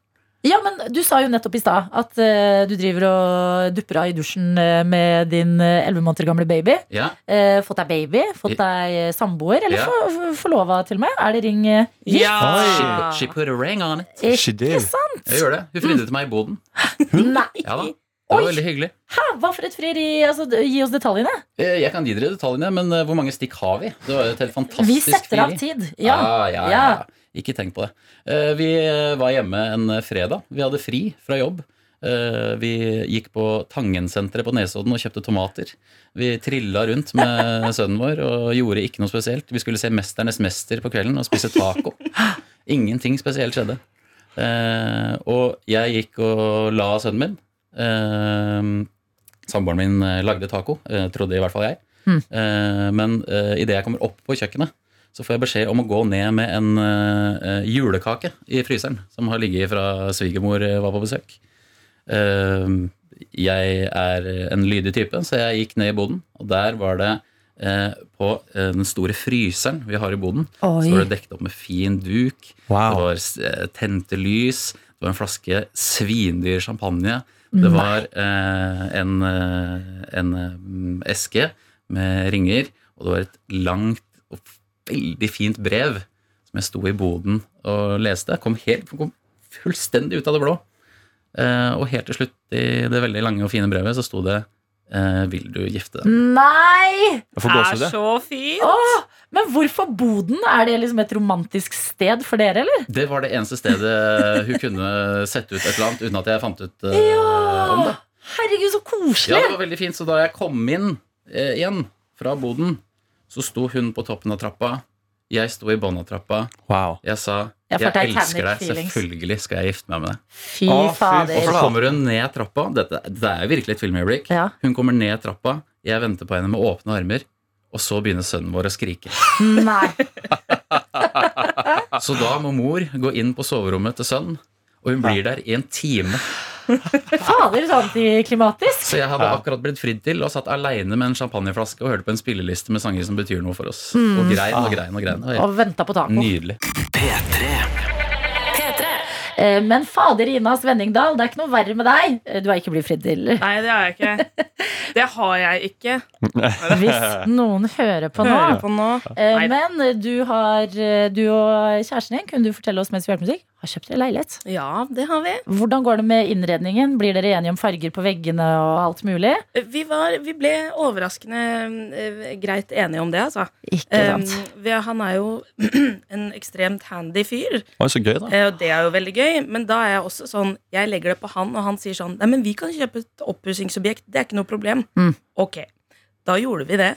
Speaker 4: Ja, men du sa jo nettopp i stad at eh, du driver og dupper av i dusjen eh, med din elleve måneder gamle baby.
Speaker 7: Ja,
Speaker 4: Eh, fått deg baby, fått deg eh, samboer, eller
Speaker 7: Ja.
Speaker 4: for- for- forlova til og med. Er det ring eh, gift?
Speaker 7: she,
Speaker 8: Ja!
Speaker 7: put, she put a ring on it.
Speaker 5: She
Speaker 4: Ikke
Speaker 5: did.
Speaker 4: sant?
Speaker 7: Jeg gjør det. Hun fridde til meg i boden.
Speaker 4: Nei!
Speaker 7: Ja da, Det var
Speaker 4: Oi.
Speaker 7: veldig hyggelig.
Speaker 4: Hæ, hva for et frieri? Altså, d- gi oss detaljene.
Speaker 7: Eh, Jeg kan gi dere detaljene, men eh, hvor mange stikk har vi? Det var jo et helt fantastisk
Speaker 4: Vi setter av
Speaker 7: frieri.
Speaker 4: tid. Ja.
Speaker 7: Ah, ja, ja. ja. Ikke tenk på det. Eh, Vi eh, var hjemme en eh, fredag. Vi hadde fri fra jobb. Eh, Vi gikk på Tangensenteret på Nesodden og kjøpte tomater. Vi trilla rundt med sønnen vår og gjorde ikke noe spesielt. Vi skulle se Mesternes mester på kvelden og spise taco. Ingenting spesielt skjedde. Eh, Og jeg gikk og la sønnen min. Eh, Samboeren min eh, lagde taco, eh, trodde i hvert fall jeg. Eh, Men idet jeg kommer opp på kjøkkenet, så får jeg beskjed om å gå ned med en eh, eh, julekake i fryseren, som har ligget fra svigermor eh, var på besøk. Eh, jeg er en lydig type, så jeg gikk ned i boden, og der var det eh, på eh, den store fryseren vi har i boden,
Speaker 4: Oi.
Speaker 7: så var det dekket opp med fin duk,
Speaker 5: Wow.
Speaker 7: det var eh, tente lys, det var en flaske svindyr champagne, det var eh, en, eh, en eh, eske med ringer, og det var et langt og veldig fint brev som jeg sto i boden og leste. Jeg Kom, helt, kom fullstendig ut av det blå. Eh, og helt til slutt i det veldig lange og fine brevet så sto det eh, 'Vil du gifte deg?'
Speaker 4: Nei!
Speaker 5: Jeg får
Speaker 8: Er
Speaker 5: gåsehud. jeg.
Speaker 8: så fin!
Speaker 4: Åh, men hvorfor Boden? Er det liksom et romantisk sted for dere, eller?
Speaker 7: Det var det eneste stedet hun kunne sette ut et eller annet uten at jeg fant ut eh, om det.
Speaker 4: Ja! Herregud, så
Speaker 7: Ja,
Speaker 4: koselig!
Speaker 7: det var veldig fint. Så da jeg kom inn eh, igjen fra boden, så sto hun på toppen av trappa. Jeg sto i bånn av trappa.
Speaker 5: Wow.
Speaker 7: Jeg sa
Speaker 4: Jeg
Speaker 7: jeg,
Speaker 4: får Titanic
Speaker 7: elsker deg,
Speaker 4: feelings. selvfølgelig
Speaker 7: selvfølgelig skal jeg gifte meg med deg.
Speaker 4: Fy
Speaker 5: Å, fy
Speaker 7: Og
Speaker 4: fader.
Speaker 5: faen.
Speaker 7: så kommer hun ned trappa. Dette, det er jo virkelig et filmøyeblikk.
Speaker 4: Ja.
Speaker 7: Hun kommer ned trappa, jeg venter på henne med åpne armer, og så begynner sønnen vår å skrike.
Speaker 4: Nei.
Speaker 7: Så da må mor gå inn på soverommet til sønnen, og hun blir der i en time.
Speaker 4: Fader, så antiklimatisk.
Speaker 7: Så jeg hadde akkurat blitt fridd til og satt aleine med en champagneflaske og hørte på en spilleliste med sanger som betyr noe for oss.
Speaker 4: Hmm.
Speaker 7: Og grein og grein og grein. Og helt
Speaker 4: Og venta på taco.
Speaker 7: nydelig.
Speaker 4: Eh, Men fader, Ina Svenningdal, det er ikke noe verre med deg. Eh, Du er ikke blitt fridd til.
Speaker 8: Nei, det har jeg (laughs) ikke. Det har jeg ikke.
Speaker 4: Hvis noen hører på nå.
Speaker 8: Hører på nå.
Speaker 4: Eh,
Speaker 8: Nei.
Speaker 4: Men du, har, eh, du og kjæresten din kunne du fortelle oss mens vi hørte musikk, har kjøpt dere leilighet.
Speaker 8: Ja, det har vi.
Speaker 4: Hvordan går det med innredningen? Blir dere enige om farger på veggene og alt mulig?
Speaker 8: Vi, var, vi ble overraskende eh, greit enige om det, altså.
Speaker 4: Ikke sant.
Speaker 8: Um, vi, han er jo (clears throat) en ekstremt handy fyr,
Speaker 5: Oi, så gøy, da.
Speaker 8: eh, og det er jo veldig gøy. Men da er jeg også sånn Jeg legger det på han, og han sier sånn Nei, men vi kan kjøpe et oppussingsobjekt. Det er ikke noe problem.
Speaker 4: Mm.
Speaker 8: Ok. Da gjorde vi det.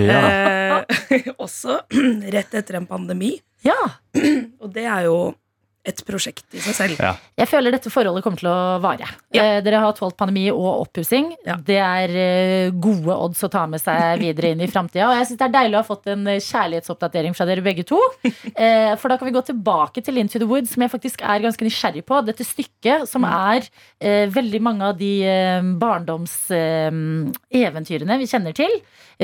Speaker 5: Ja.
Speaker 8: Eh, (laughs) også (clears throat) rett etter en pandemi.
Speaker 4: Ja.
Speaker 8: Og det er jo et prosjekt i seg selv.
Speaker 5: Ja.
Speaker 4: Jeg føler dette forholdet kommer til å vare.
Speaker 8: Ja.
Speaker 4: Eh, Dere har tålt pandemi og oppussing.
Speaker 8: Ja.
Speaker 4: Det er eh, gode odds å ta med seg videre inn i framtida. Og jeg syns det er deilig å ha fått en eh, kjærlighetsoppdatering fra dere begge to. Eh, For da kan vi gå tilbake til Into the Woods, som jeg faktisk er ganske nysgjerrig på. Dette stykket som
Speaker 8: Mm.
Speaker 4: er eh, veldig mange av de eh, barndomseventyrene vi kjenner til.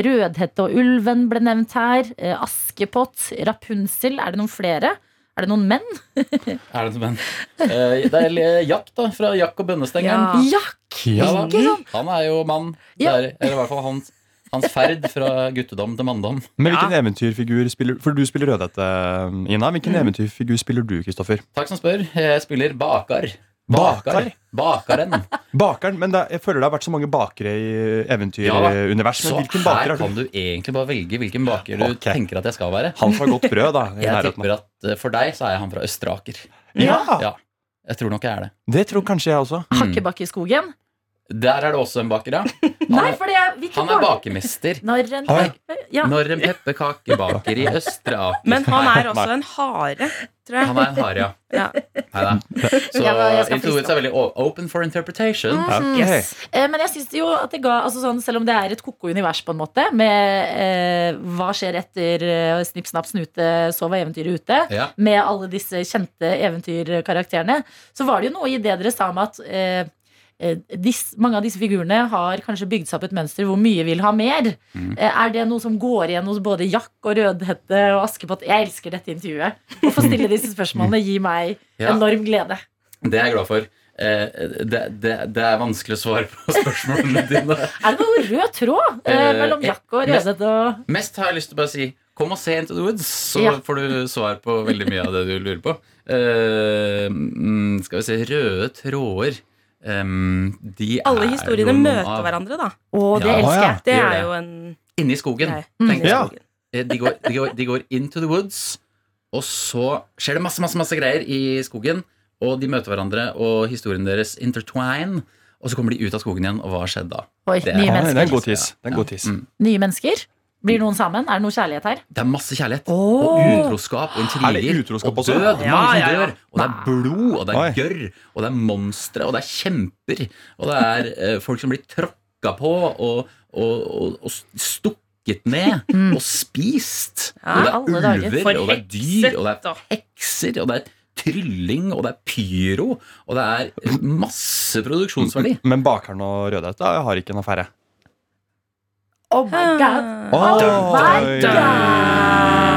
Speaker 4: Rødhette og ulven ble nevnt her. Eh, Askepott, Rapunsel. Er det noen flere? Er Er det noen menn?
Speaker 7: Er det, men, eh, det er eh, Jack, da, fra Jack og Bønnestengeren.
Speaker 8: Ja.
Speaker 4: Ja,
Speaker 7: Ja,
Speaker 4: ikke sant?
Speaker 7: han er jo mann. Det
Speaker 4: Ja.
Speaker 7: er- eller i hvert fall hans, hans ferd fra guttedom til manndom.
Speaker 5: Men hvilken eventyrfigur spiller For du spiller Rødhette, eh, Ina. Hvilken eventyrfigur spiller du, Kristoffer?
Speaker 7: Takk som spør. Jeg spiller bakar.
Speaker 5: Bakar?
Speaker 7: Bakaren.
Speaker 5: Bakeren. Men det, jeg føler det har vært så mange bakere i eventyruniverset.
Speaker 7: Så
Speaker 5: Men hvilken baker
Speaker 7: her
Speaker 5: er
Speaker 7: kan
Speaker 5: du?
Speaker 7: du egentlig bare velge hvilken baker du
Speaker 5: Ok.
Speaker 7: tenker at jeg skal være.
Speaker 5: Han som har godt brød, da. I
Speaker 7: Jeg
Speaker 5: nærheten.
Speaker 7: tipper at eh, for deg så er han fra Østeraker.
Speaker 5: Ja,
Speaker 7: Ja. Jeg tror nok jeg er det.
Speaker 5: det tror kanskje jeg også.
Speaker 7: Mm.
Speaker 4: Hakkebakk i skogen?
Speaker 7: Der er det også en baker, ja.
Speaker 4: Nei,
Speaker 7: Han er,
Speaker 4: for det er hvilken
Speaker 7: han er
Speaker 4: barn-
Speaker 7: bakemester.
Speaker 4: Når en
Speaker 5: Ah,
Speaker 4: ja.
Speaker 7: Når en pepperkakebaker i Østre Aker
Speaker 8: Men han
Speaker 7: Nei,
Speaker 8: er også en hare, tror jeg.
Speaker 7: Han er en hare, ja.
Speaker 8: Ja. (laughs)
Speaker 7: Neida. Så
Speaker 4: Jeg var- jeg skal
Speaker 7: Into Woods er veldig o- open for interpretation.
Speaker 8: Mm.
Speaker 5: Ok.
Speaker 8: Yes.
Speaker 4: Eh, Men jeg synes jo at det ga altså sånn, Selv om det er et koko univers på en måte Med eh, hva skjer etter eh, Snipp, snapp, snute, sov og eventyret ute
Speaker 7: Ja.
Speaker 4: Med alle disse kjente eventyrkarakterene Så var det jo noe i det dere sa om at eh, eh, disse- mange av disse figurene har kanskje bygd seg opp et mønster hvor mye vil ha mer.
Speaker 7: Mm.
Speaker 4: Eh, Er det noe som går igjen hos både Jack og Rødhette og Askepott? Jeg elsker dette intervjuet. Å få stille disse spørsmålene gir meg
Speaker 7: Ja.
Speaker 4: enorm glede.
Speaker 7: Det er jeg glad for. Eh, Det, det, det er vanskelig å svare på (laughs) spørsmålene dine.
Speaker 4: Er det noe rød tråd eh,
Speaker 7: Eh,
Speaker 4: mellom Jack og
Speaker 7: eh, men-
Speaker 4: Rødhette og
Speaker 7: Mest har jeg lyst til å bare si Kom og se Into the Woods, så
Speaker 4: Ja.
Speaker 7: får du svar på veldig mye av det du lurer på. Eh, mm, skal vi se Røde tråder. Em, de
Speaker 8: Alle
Speaker 7: er
Speaker 8: historiene
Speaker 7: jo noen
Speaker 8: møter
Speaker 7: av-
Speaker 8: hverandre, da.
Speaker 4: Å, det
Speaker 7: Ja.
Speaker 4: elsker jeg.
Speaker 8: Det
Speaker 7: Gjør
Speaker 8: er
Speaker 7: det. Mm.
Speaker 8: jo en
Speaker 7: Inni skogen.
Speaker 8: greie.
Speaker 7: tenker jeg.
Speaker 5: Ja.
Speaker 7: Eh, De, går, de, går, de går into the woods, og så skjer det masse, masse, masse greier i skogen. Og de møter hverandre, og historien deres intertwine. Og så kommer de ut av skogen igjen, og hva har skjedd da?
Speaker 4: Oi,
Speaker 7: Det er-
Speaker 4: nye
Speaker 5: Ja, det er en
Speaker 4: mennesker.
Speaker 5: god tiss. Det er en god tiss.
Speaker 7: Mm.
Speaker 4: nye mennesker. Blir noen sammen? Er det noe kjærlighet her?
Speaker 7: Det er masse kjærlighet.
Speaker 4: Åh.
Speaker 7: Og utroskap og
Speaker 5: Er det
Speaker 7: intriger.
Speaker 5: utroskap
Speaker 7: Og
Speaker 5: også?
Speaker 7: død.
Speaker 8: Ja,
Speaker 7: mange
Speaker 8: ja,
Speaker 7: som
Speaker 8: ja.
Speaker 7: dør. Og det er blod, og det
Speaker 5: Oi.
Speaker 7: er gørr, og det er monstre, og det er kjemper. Og det er eh, folk som blir tråkka på og, og, og, og stukket ned og spist.
Speaker 8: Mm. Ja,
Speaker 7: og det
Speaker 4: alle dager.
Speaker 7: er ulver, og det er dyr, og det er hekser, og det er trylling, og det er pyro, og det er masse
Speaker 5: (laughs)
Speaker 7: produksjonsverdi.
Speaker 5: Men bakeren og Rødhette har ikke en affære.
Speaker 4: Oh my
Speaker 8: Ah.
Speaker 4: god!
Speaker 5: Oi.
Speaker 4: Oh my
Speaker 5: Oi.
Speaker 4: god!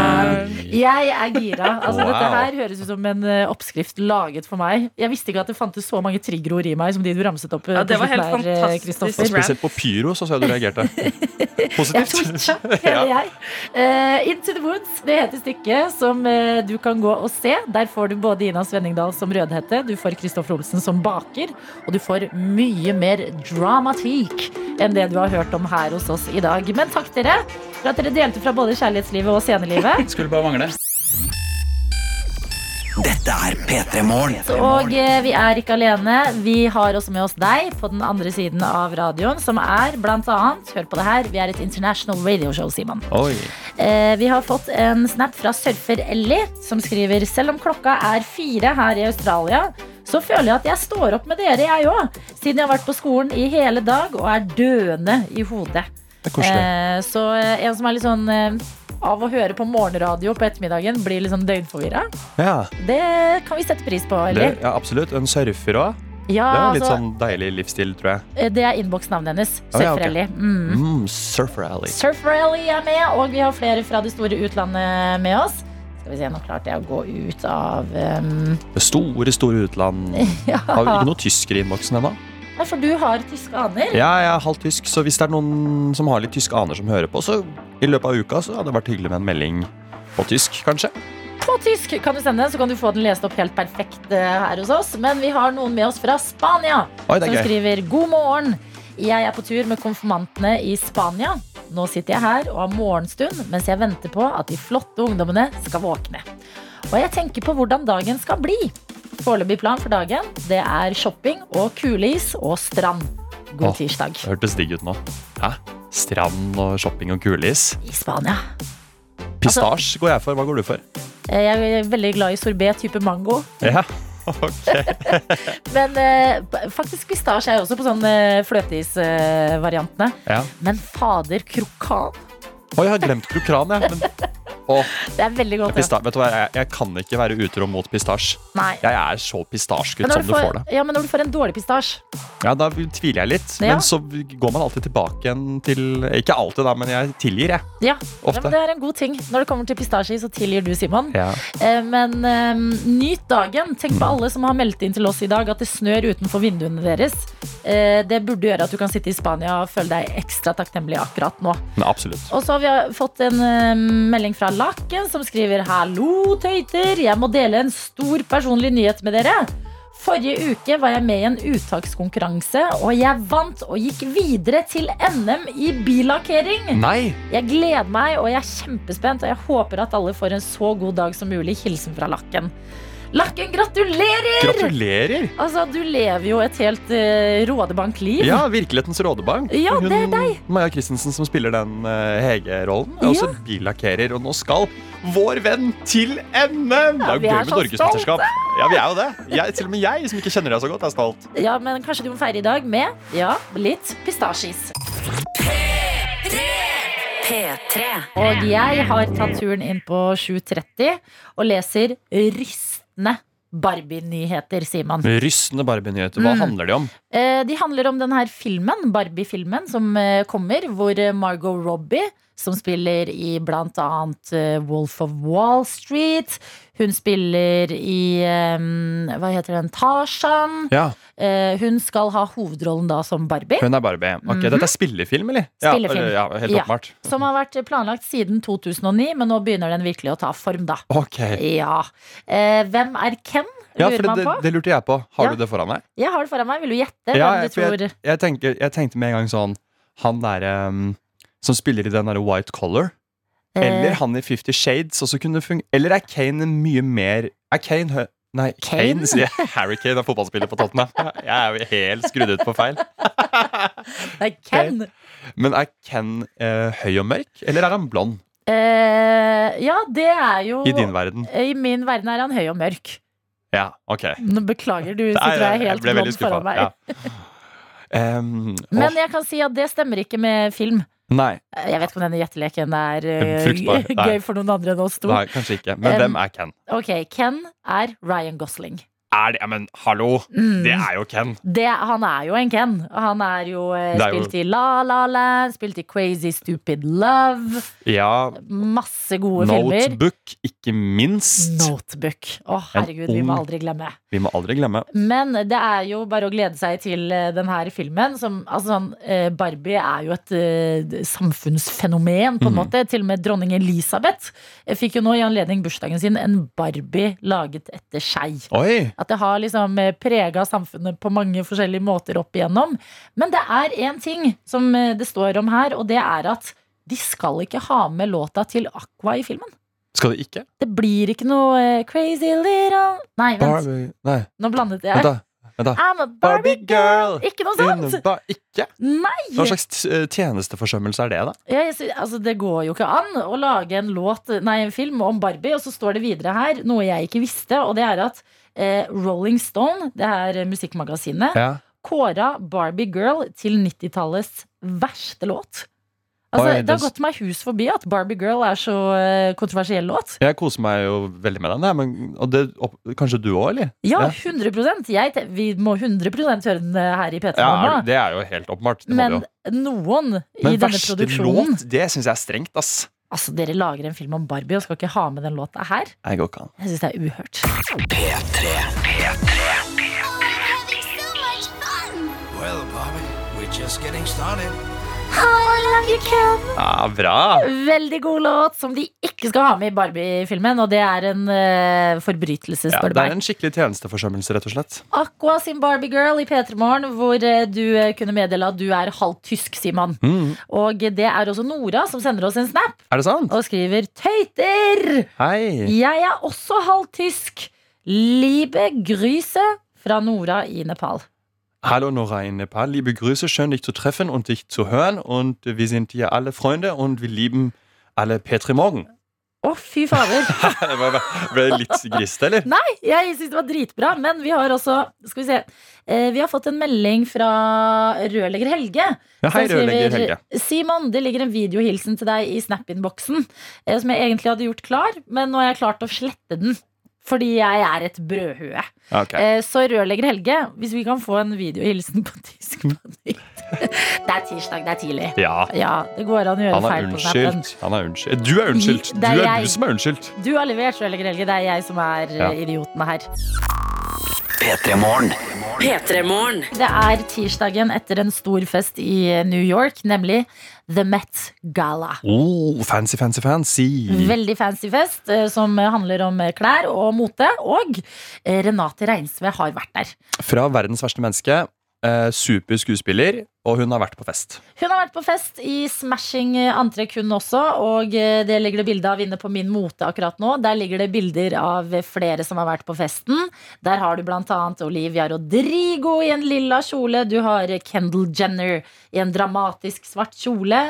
Speaker 4: Jeg er gira. Altså,
Speaker 5: Wow.
Speaker 4: Dette her høres ut som en eh, oppskrift laget for meg. Jeg visste ikke at det fantes så mange triggerord i meg som de du ramset opp. eh,
Speaker 8: Ja, det
Speaker 4: på
Speaker 8: var helt
Speaker 4: slutten her, eh,
Speaker 8: fantastisk.
Speaker 4: Kristoffer.
Speaker 5: Og spesielt på pyro så så jeg du reagerte.
Speaker 4: (laughs) Jeg
Speaker 5: (laughs) Positivt.
Speaker 4: twitcha, hele jeg. Eh, Into the Woods det heter stykket som eh, du kan gå og se. Der får du både Ina Svenningdal som Rødhette, du får Kristoffer Olsen som baker, og du får mye mer dramatikk enn det du har hørt om her hos oss i dag. Men takk dere for at dere delte fra både kjærlighetslivet
Speaker 7: (laughs)
Speaker 4: og scenelivet.
Speaker 7: Skulle bare mangle.
Speaker 2: Dette er P3 Morgen.
Speaker 4: Og eh, vi er ikke alene. Vi har også med oss deg på den andre siden av radioen, som er blant annet Hør på det her, vi er et international radio show, Simon.
Speaker 5: Oi.
Speaker 4: Eh, vi har fått en snap fra surfer Ellie, som skriver Selv om klokka er fire her i Australia, så føler jeg at jeg står opp med dere, jeg òg. Siden jeg har vært på skolen i hele dag og er døende i hodet.
Speaker 5: Det er koselig.
Speaker 4: Eh, så eh, en som er litt sånn eh, av å høre på morgenradio på ettermiddagen, blir litt sånn døgnforvirra.
Speaker 5: Ja,
Speaker 4: Det kan vi sette pris på,
Speaker 5: det,
Speaker 4: Ellie.
Speaker 5: ja absolutt. En surfer òg.
Speaker 4: Ja,
Speaker 5: Det er litt
Speaker 4: altså,
Speaker 5: sånn deilig livsstil, tror jeg.
Speaker 4: eh, det er innboksnavnet hennes.
Speaker 5: Å,
Speaker 4: Surfer
Speaker 5: ja, ok.
Speaker 4: Ellie. Mm.
Speaker 5: Mm, surfer alley.
Speaker 4: Surf Rally er med, og vi har flere fra det store utlandet med oss. Skal vi se, nå klarte jeg å gå ut av um,
Speaker 5: Det store, store
Speaker 4: (laughs)
Speaker 5: utland. Har vi ikke noe tysker i innboksen ennå?
Speaker 4: Nei, for du har tyske aner.
Speaker 5: Ja, jeg er halvt tysk, så hvis det er noen som har litt tyske aner som hører på, så i løpet av uka så hadde det vært hyggelig med en melding på tysk, kanskje.
Speaker 4: På tysk kan du sende den, så kan du få den lest opp helt perfekt eh, her hos oss. Men vi har noen med oss fra Spania,
Speaker 5: Oi, det
Speaker 4: som
Speaker 5: er gøy.
Speaker 4: skriver God morgen. Jeg er på tur med konfirmantene i Spania. Nå sitter jeg her og har morgenstund mens jeg venter på at de flotte ungdommene skal våkne. Og jeg tenker på hvordan dagen skal bli. Foreløpig plan for dagen det er shopping og kuleis og strand. God
Speaker 5: Åh.
Speaker 4: tirsdag
Speaker 5: Det hørtes digg ut nå. Hæ? Strand og shopping og kuleis.
Speaker 4: i Spania. Altså-
Speaker 5: Pistasje går jeg for. Hva går du for?
Speaker 4: Eh, Jeg er veldig glad i sorbet type mango.
Speaker 5: Ja, (laughs) ok.
Speaker 4: Men eh, p- faktisk pistasje er jo også på sånn eh, fløteisvariantene.
Speaker 5: Ja.
Speaker 4: Men fader, krokan!
Speaker 5: Oi, jeg har glemt krokran, jeg. Men Åh,
Speaker 4: Det er veldig godt. Ja.
Speaker 5: pista Vet du hva, jeg, jeg kan ikke være utro mot pistasj.
Speaker 4: Nei.
Speaker 5: Jeg er så pistasjgutt
Speaker 4: Men
Speaker 5: som
Speaker 4: når,
Speaker 5: du får det.
Speaker 4: ja, men når du får en dårlig pistasje
Speaker 5: Ja, Da tviler jeg litt,
Speaker 4: Ja.
Speaker 5: men så går man alltid tilbake igjen til Ikke alltid, da, men jeg tilgir, jeg.
Speaker 4: ja. ja,
Speaker 5: Ofte.
Speaker 4: men Det er en god ting. Når det kommer til pistasje, så tilgir du, Simon.
Speaker 5: Ja. Mm.
Speaker 4: Eh, Men eh, nyt dagen. Tenk på alle som har meldt inn til oss i dag at det snør utenfor vinduene deres. Eh, Det burde gjøre at du kan sitte i Spania og føle deg ekstra takknemlig akkurat nå.
Speaker 5: Men absolutt.
Speaker 4: Og så har vi fått en eh, melding fra Lakken som skriver Hallo tøyter, jeg må dele en stor personlig nyhet med dere. Forrige uke var jeg med i en uttakskonkurranse, og jeg vant og gikk videre til NM i billakkering.
Speaker 5: Nei!
Speaker 4: Jeg gleder meg, og jeg er kjempespent, og jeg håper at alle får en så god dag som mulig. Hilsen fra Lakken. Lakken, gratulerer!
Speaker 5: Gratulerer!
Speaker 4: Altså, du lever jo et helt eh, rådebankliv.
Speaker 5: Ja, Virkelighetens rådebank.
Speaker 4: Ja, det er deg.
Speaker 5: Maja Christensen som spiller den eh, Hege-rollen. Er også billakkerer. Og nå skal vår venn til NM!
Speaker 4: Ja, vi
Speaker 5: det er jo
Speaker 4: er
Speaker 5: gøy med
Speaker 4: så
Speaker 5: norgesmesterskap. Ja, vi er jo det. Jeg, til og med jeg som ikke kjenner deg så godt, er stolt.
Speaker 4: Ja, men kanskje du må feire i dag med ja, litt pistasjis.
Speaker 3: P3.
Speaker 4: Og jeg har tatt turen inn på 7.30 og leser rystende Barbie-nyheter, Simon.
Speaker 5: Rystende Barbie-nyheter. Hva
Speaker 4: Mm.
Speaker 5: handler de om?
Speaker 4: Eh, De handler om denne filmen, Barbie-filmen, som eh, kommer, hvor eh, Margot Robbie, som spiller i blant annet eh, Wolf of Wall Street, hun spiller i eh, Hva heter den? Tarzan.
Speaker 5: Ja,
Speaker 4: Eh, Hun skal ha hovedrollen da som Barbie.
Speaker 5: Hun er Barbie. Ok,
Speaker 4: Mhm.
Speaker 5: Dette er spillefilm, eller?
Speaker 4: Spillefilm.
Speaker 5: Ja, ja, helt
Speaker 4: Ja.
Speaker 5: åpenbart.
Speaker 4: Som har vært planlagt siden 2009, men nå begynner den virkelig å ta form, da.
Speaker 5: Ok.
Speaker 4: Ja. Eh, Hvem er Ken?
Speaker 5: Ja,
Speaker 4: lurer
Speaker 5: for det,
Speaker 4: man på.
Speaker 5: det lurte jeg på. Har
Speaker 4: Ja.
Speaker 5: du det foran deg?
Speaker 4: Jeg har det foran meg. Vil du gjette
Speaker 5: Ja,
Speaker 4: hvem du
Speaker 5: for jeg-
Speaker 4: tror
Speaker 5: Jeg, tenker, jeg tenkte med en gang sånn Han derre um, som spiller i den derre White Collar. Eller
Speaker 4: eh,
Speaker 5: han i Fifty Shades også kunne fungere. Eller er Kane en mye mer Er Kane hø... Nei, Kane,
Speaker 4: Kane?
Speaker 5: sier jeg. Harry Kane er fotballspiller på Tottenham. Jeg er jo helt skrudd ut på feil.
Speaker 4: Nei, Ken.
Speaker 5: Men er Ken eh, høy og mørk, eller er han blond
Speaker 4: Eh, ja, det er jo
Speaker 5: i din verden?
Speaker 4: I min verden er han høy og mørk.
Speaker 5: Ja, ok.
Speaker 4: Nå Beklager, du
Speaker 5: Nei,
Speaker 4: sitter og er
Speaker 5: jeg
Speaker 4: helt
Speaker 5: ble veldig
Speaker 4: blond foran
Speaker 5: skuffa.
Speaker 4: meg.
Speaker 5: Ja. Um,
Speaker 4: Men
Speaker 5: åh,
Speaker 4: jeg kan si at det stemmer ikke med film.
Speaker 5: nei,
Speaker 4: Eh, Jeg vet ikke om denne gjetteleken er eh, (laughs)
Speaker 5: Fruktbar. Nei.
Speaker 4: gøy for noen andre enn oss to.
Speaker 5: nei, kanskje ikke. Men
Speaker 4: Um,
Speaker 5: hvem er Ken?
Speaker 4: Ok, Ken er Ryan Gosling.
Speaker 5: Er det, ja, men hallo!
Speaker 4: Mm.
Speaker 5: Det er jo Ken.
Speaker 4: Det, han er jo en Ken. Han er jo eh,
Speaker 5: Det er jo-
Speaker 4: spilt i La La Land, spilt i Crazy Stupid Love.
Speaker 5: Ja,
Speaker 4: Masse gode filmer.
Speaker 5: Notebook, ikke minst.
Speaker 4: Notebook. Å, herregud, vi må
Speaker 5: ung-
Speaker 4: aldri glemme.
Speaker 5: Vi må aldri glemme.
Speaker 4: Men det er jo bare å glede seg til eh, den her filmen. Som, altså, sånn, eh, Barbie er jo et eh, samfunnsfenomen, på en
Speaker 5: Mhm.
Speaker 4: måte. Til og med dronning Elisabeth eh, fikk jo nå i anledning bursdagen sin en Barbie laget etter seg.
Speaker 5: Oi!
Speaker 4: At det har liksom prega samfunnet på mange forskjellige måter opp igjennom. Men det er én ting som eh, det står om her, og det er at de skal ikke ha med låta til Aqua i filmen.
Speaker 5: Skal du ikke?
Speaker 4: Det blir ikke noe eh, crazy little Nei, vent.
Speaker 5: Barbie Nei,
Speaker 4: Nå blandet jeg.
Speaker 5: vent, da. Vent da.
Speaker 4: I'm a Barbie.
Speaker 5: Barbie girl!
Speaker 4: Ikke noe sånt!
Speaker 5: Inneba- ikke?
Speaker 4: Nei!
Speaker 5: Hva slags eh, tjenesteforsømmelse er det, da?
Speaker 4: Ja, jeg, sy- altså, det går jo ikke an å lage en, låt, nei, en film om Barbie, og så står det videre her noe jeg ikke visste, og det er at eh, Rolling Stone, det her eh, musikkmagasinet,
Speaker 5: Ja.
Speaker 4: kåra Barbie Girl til 90-tallets verste låt. Altså,
Speaker 5: Oi,
Speaker 4: det har
Speaker 5: det s-
Speaker 4: gått meg hus forbi at Barbie Girl er så eh, kontroversiell låt.
Speaker 5: Jeg koser meg jo veldig med den. jeg, Men, og det, opp, kanskje du òg, eller?
Speaker 4: Ja,
Speaker 5: Ja.
Speaker 4: 100 jeg, te- Vi må 100 høre den eh, her i P3
Speaker 5: Ja,
Speaker 4: Morgen.
Speaker 5: er- det er jo helt åpenbart. Det må vi
Speaker 4: Men
Speaker 5: jo.
Speaker 4: noen i
Speaker 5: Men
Speaker 4: denne
Speaker 5: verste
Speaker 4: produksjonen
Speaker 5: låt, det syns jeg er strengt, ass.
Speaker 4: Altså, Dere lager en film om Barbie og skal ikke ha med den låta her.
Speaker 5: Jeg går ikke an.
Speaker 4: Jeg syns det er uhørt.
Speaker 2: Well, Bobby, we're just getting started.
Speaker 5: Ja, bra!
Speaker 4: Veldig god låt som de ikke skal ha med i Barbie-filmen, og det er en eh, forbrytelse,
Speaker 5: Ja,
Speaker 4: spør du
Speaker 5: det er
Speaker 4: meg.
Speaker 5: en skikkelig tjenesteforsømmelse, rett og slett.
Speaker 4: Aqua sin Barbie-girl i P3 Morgen, hvor eh, du eh, kunne meddele at du er halvt tysk, Simon.
Speaker 5: Mm.
Speaker 4: Og det er også Nora som sender oss en snap
Speaker 5: Er det sant?
Speaker 4: og skriver Tøyter!
Speaker 5: Hei!
Speaker 4: Jeg er også halvt tysk. Liebe Gryse fra Nora i Nepal.
Speaker 5: Hallo Nora in Nepal, liebe Grüße, schön dich zu äh, treffen und dich zu hören und wir sind hier alle Freunde und wir lieben alle Petri Morgen. (laughs)
Speaker 4: Å, fy fader.
Speaker 5: Jeg bare- Ble det litt grist, eller?
Speaker 4: Jeg syns det var dritbra, men vi har også Skal vi se. Eh, vi har fått en melding fra rørlegger Helge.
Speaker 5: Ja,
Speaker 4: som
Speaker 5: hei,
Speaker 4: skriver,
Speaker 5: rørlegger Helge.
Speaker 4: Simon, det ligger en videohilsen til deg i Snap-innboksen eh, som jeg egentlig hadde gjort klar, men nå har jeg klart å slette den. Fordi jeg er et brødhue.
Speaker 5: Ja, ok.
Speaker 4: Eh, så rørlegger Helge, hvis vi kan få en videohilsen på tysk på nytt Det er tirsdag, det er tidlig.
Speaker 5: Ja.
Speaker 4: Ja, det går an å gjøre
Speaker 5: Han er
Speaker 4: feil på Snapen.
Speaker 5: unnskyldt. Han er unnskyldt. Du er unnskyldt!
Speaker 4: Det
Speaker 5: Du
Speaker 4: er
Speaker 5: er
Speaker 4: jeg.
Speaker 5: du som er unnskyldt.
Speaker 4: Du har levert, rørlegger Helge. Det er jeg som er
Speaker 5: Ja.
Speaker 4: eh, idioten her.
Speaker 2: P3-morgen.
Speaker 3: P3-morgen.
Speaker 4: Det er tirsdagen etter en stor fest i eh, New York, nemlig The Met Gala.
Speaker 5: Oh, fancy, fancy, fancy.
Speaker 4: Veldig fancy fest eh, som handler om eh, klær og mote. Og eh, Renate Reinsve har vært der.
Speaker 5: Fra verdens verste menneske. Eh, super skuespiller, og hun har vært på fest.
Speaker 4: Hun har vært på fest i smashing eh, antrekk, hun også. Og eh, det ligger det bilde av inne på Min mote akkurat nå. Der ligger det bilder av eh, flere som har vært på festen. Der har du bl.a. Olivia Rodrigo i en lilla kjole. Du har eh, Kendall Jenner i en dramatisk svart kjole.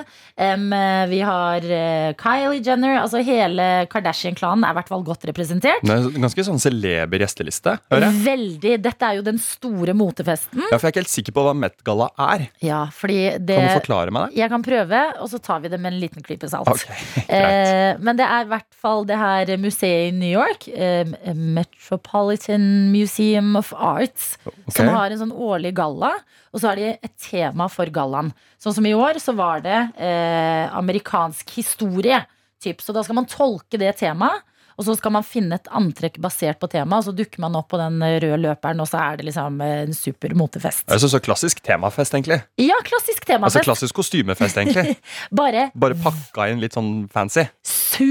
Speaker 4: Em, eh, vi har eh, Kylie Jenner. Altså hele Kardashian-klanen er i hvert fall godt representert.
Speaker 5: Det er en Ganske sånn celeber gjesteliste. Hører jeg?
Speaker 4: Veldig. Dette er jo den store motefesten.
Speaker 5: Ja, for jeg er ikke helt sikker på hva Met-galla er.
Speaker 4: Ja, fordi det
Speaker 5: Kan du forklare meg det?
Speaker 4: Jeg kan prøve, og så tar vi det med en liten klype salt.
Speaker 5: Ok, (laughs) greit.
Speaker 4: Eh, men det er i hvert fall det her museet i New York, eh, Metropolitan Museum of Arts, som har en sånn årlig galla. Og så har de et tema for gallaen. Sånn som i år, så var det eh, amerikansk historie. Typ. Så da skal man tolke det temaet. Og så skal man finne et antrekk basert på temaet, og så dukker man opp på den røde løperen, og så er det liksom eh, en super motefest.
Speaker 5: Altså, så klassisk temafest, egentlig.
Speaker 4: Ja, klassisk
Speaker 5: Altså
Speaker 4: temafest.
Speaker 5: Klassisk kostymefest,
Speaker 4: (laughs)
Speaker 5: egentlig.
Speaker 4: Bare
Speaker 5: Bare pakka inn litt sånn fancy.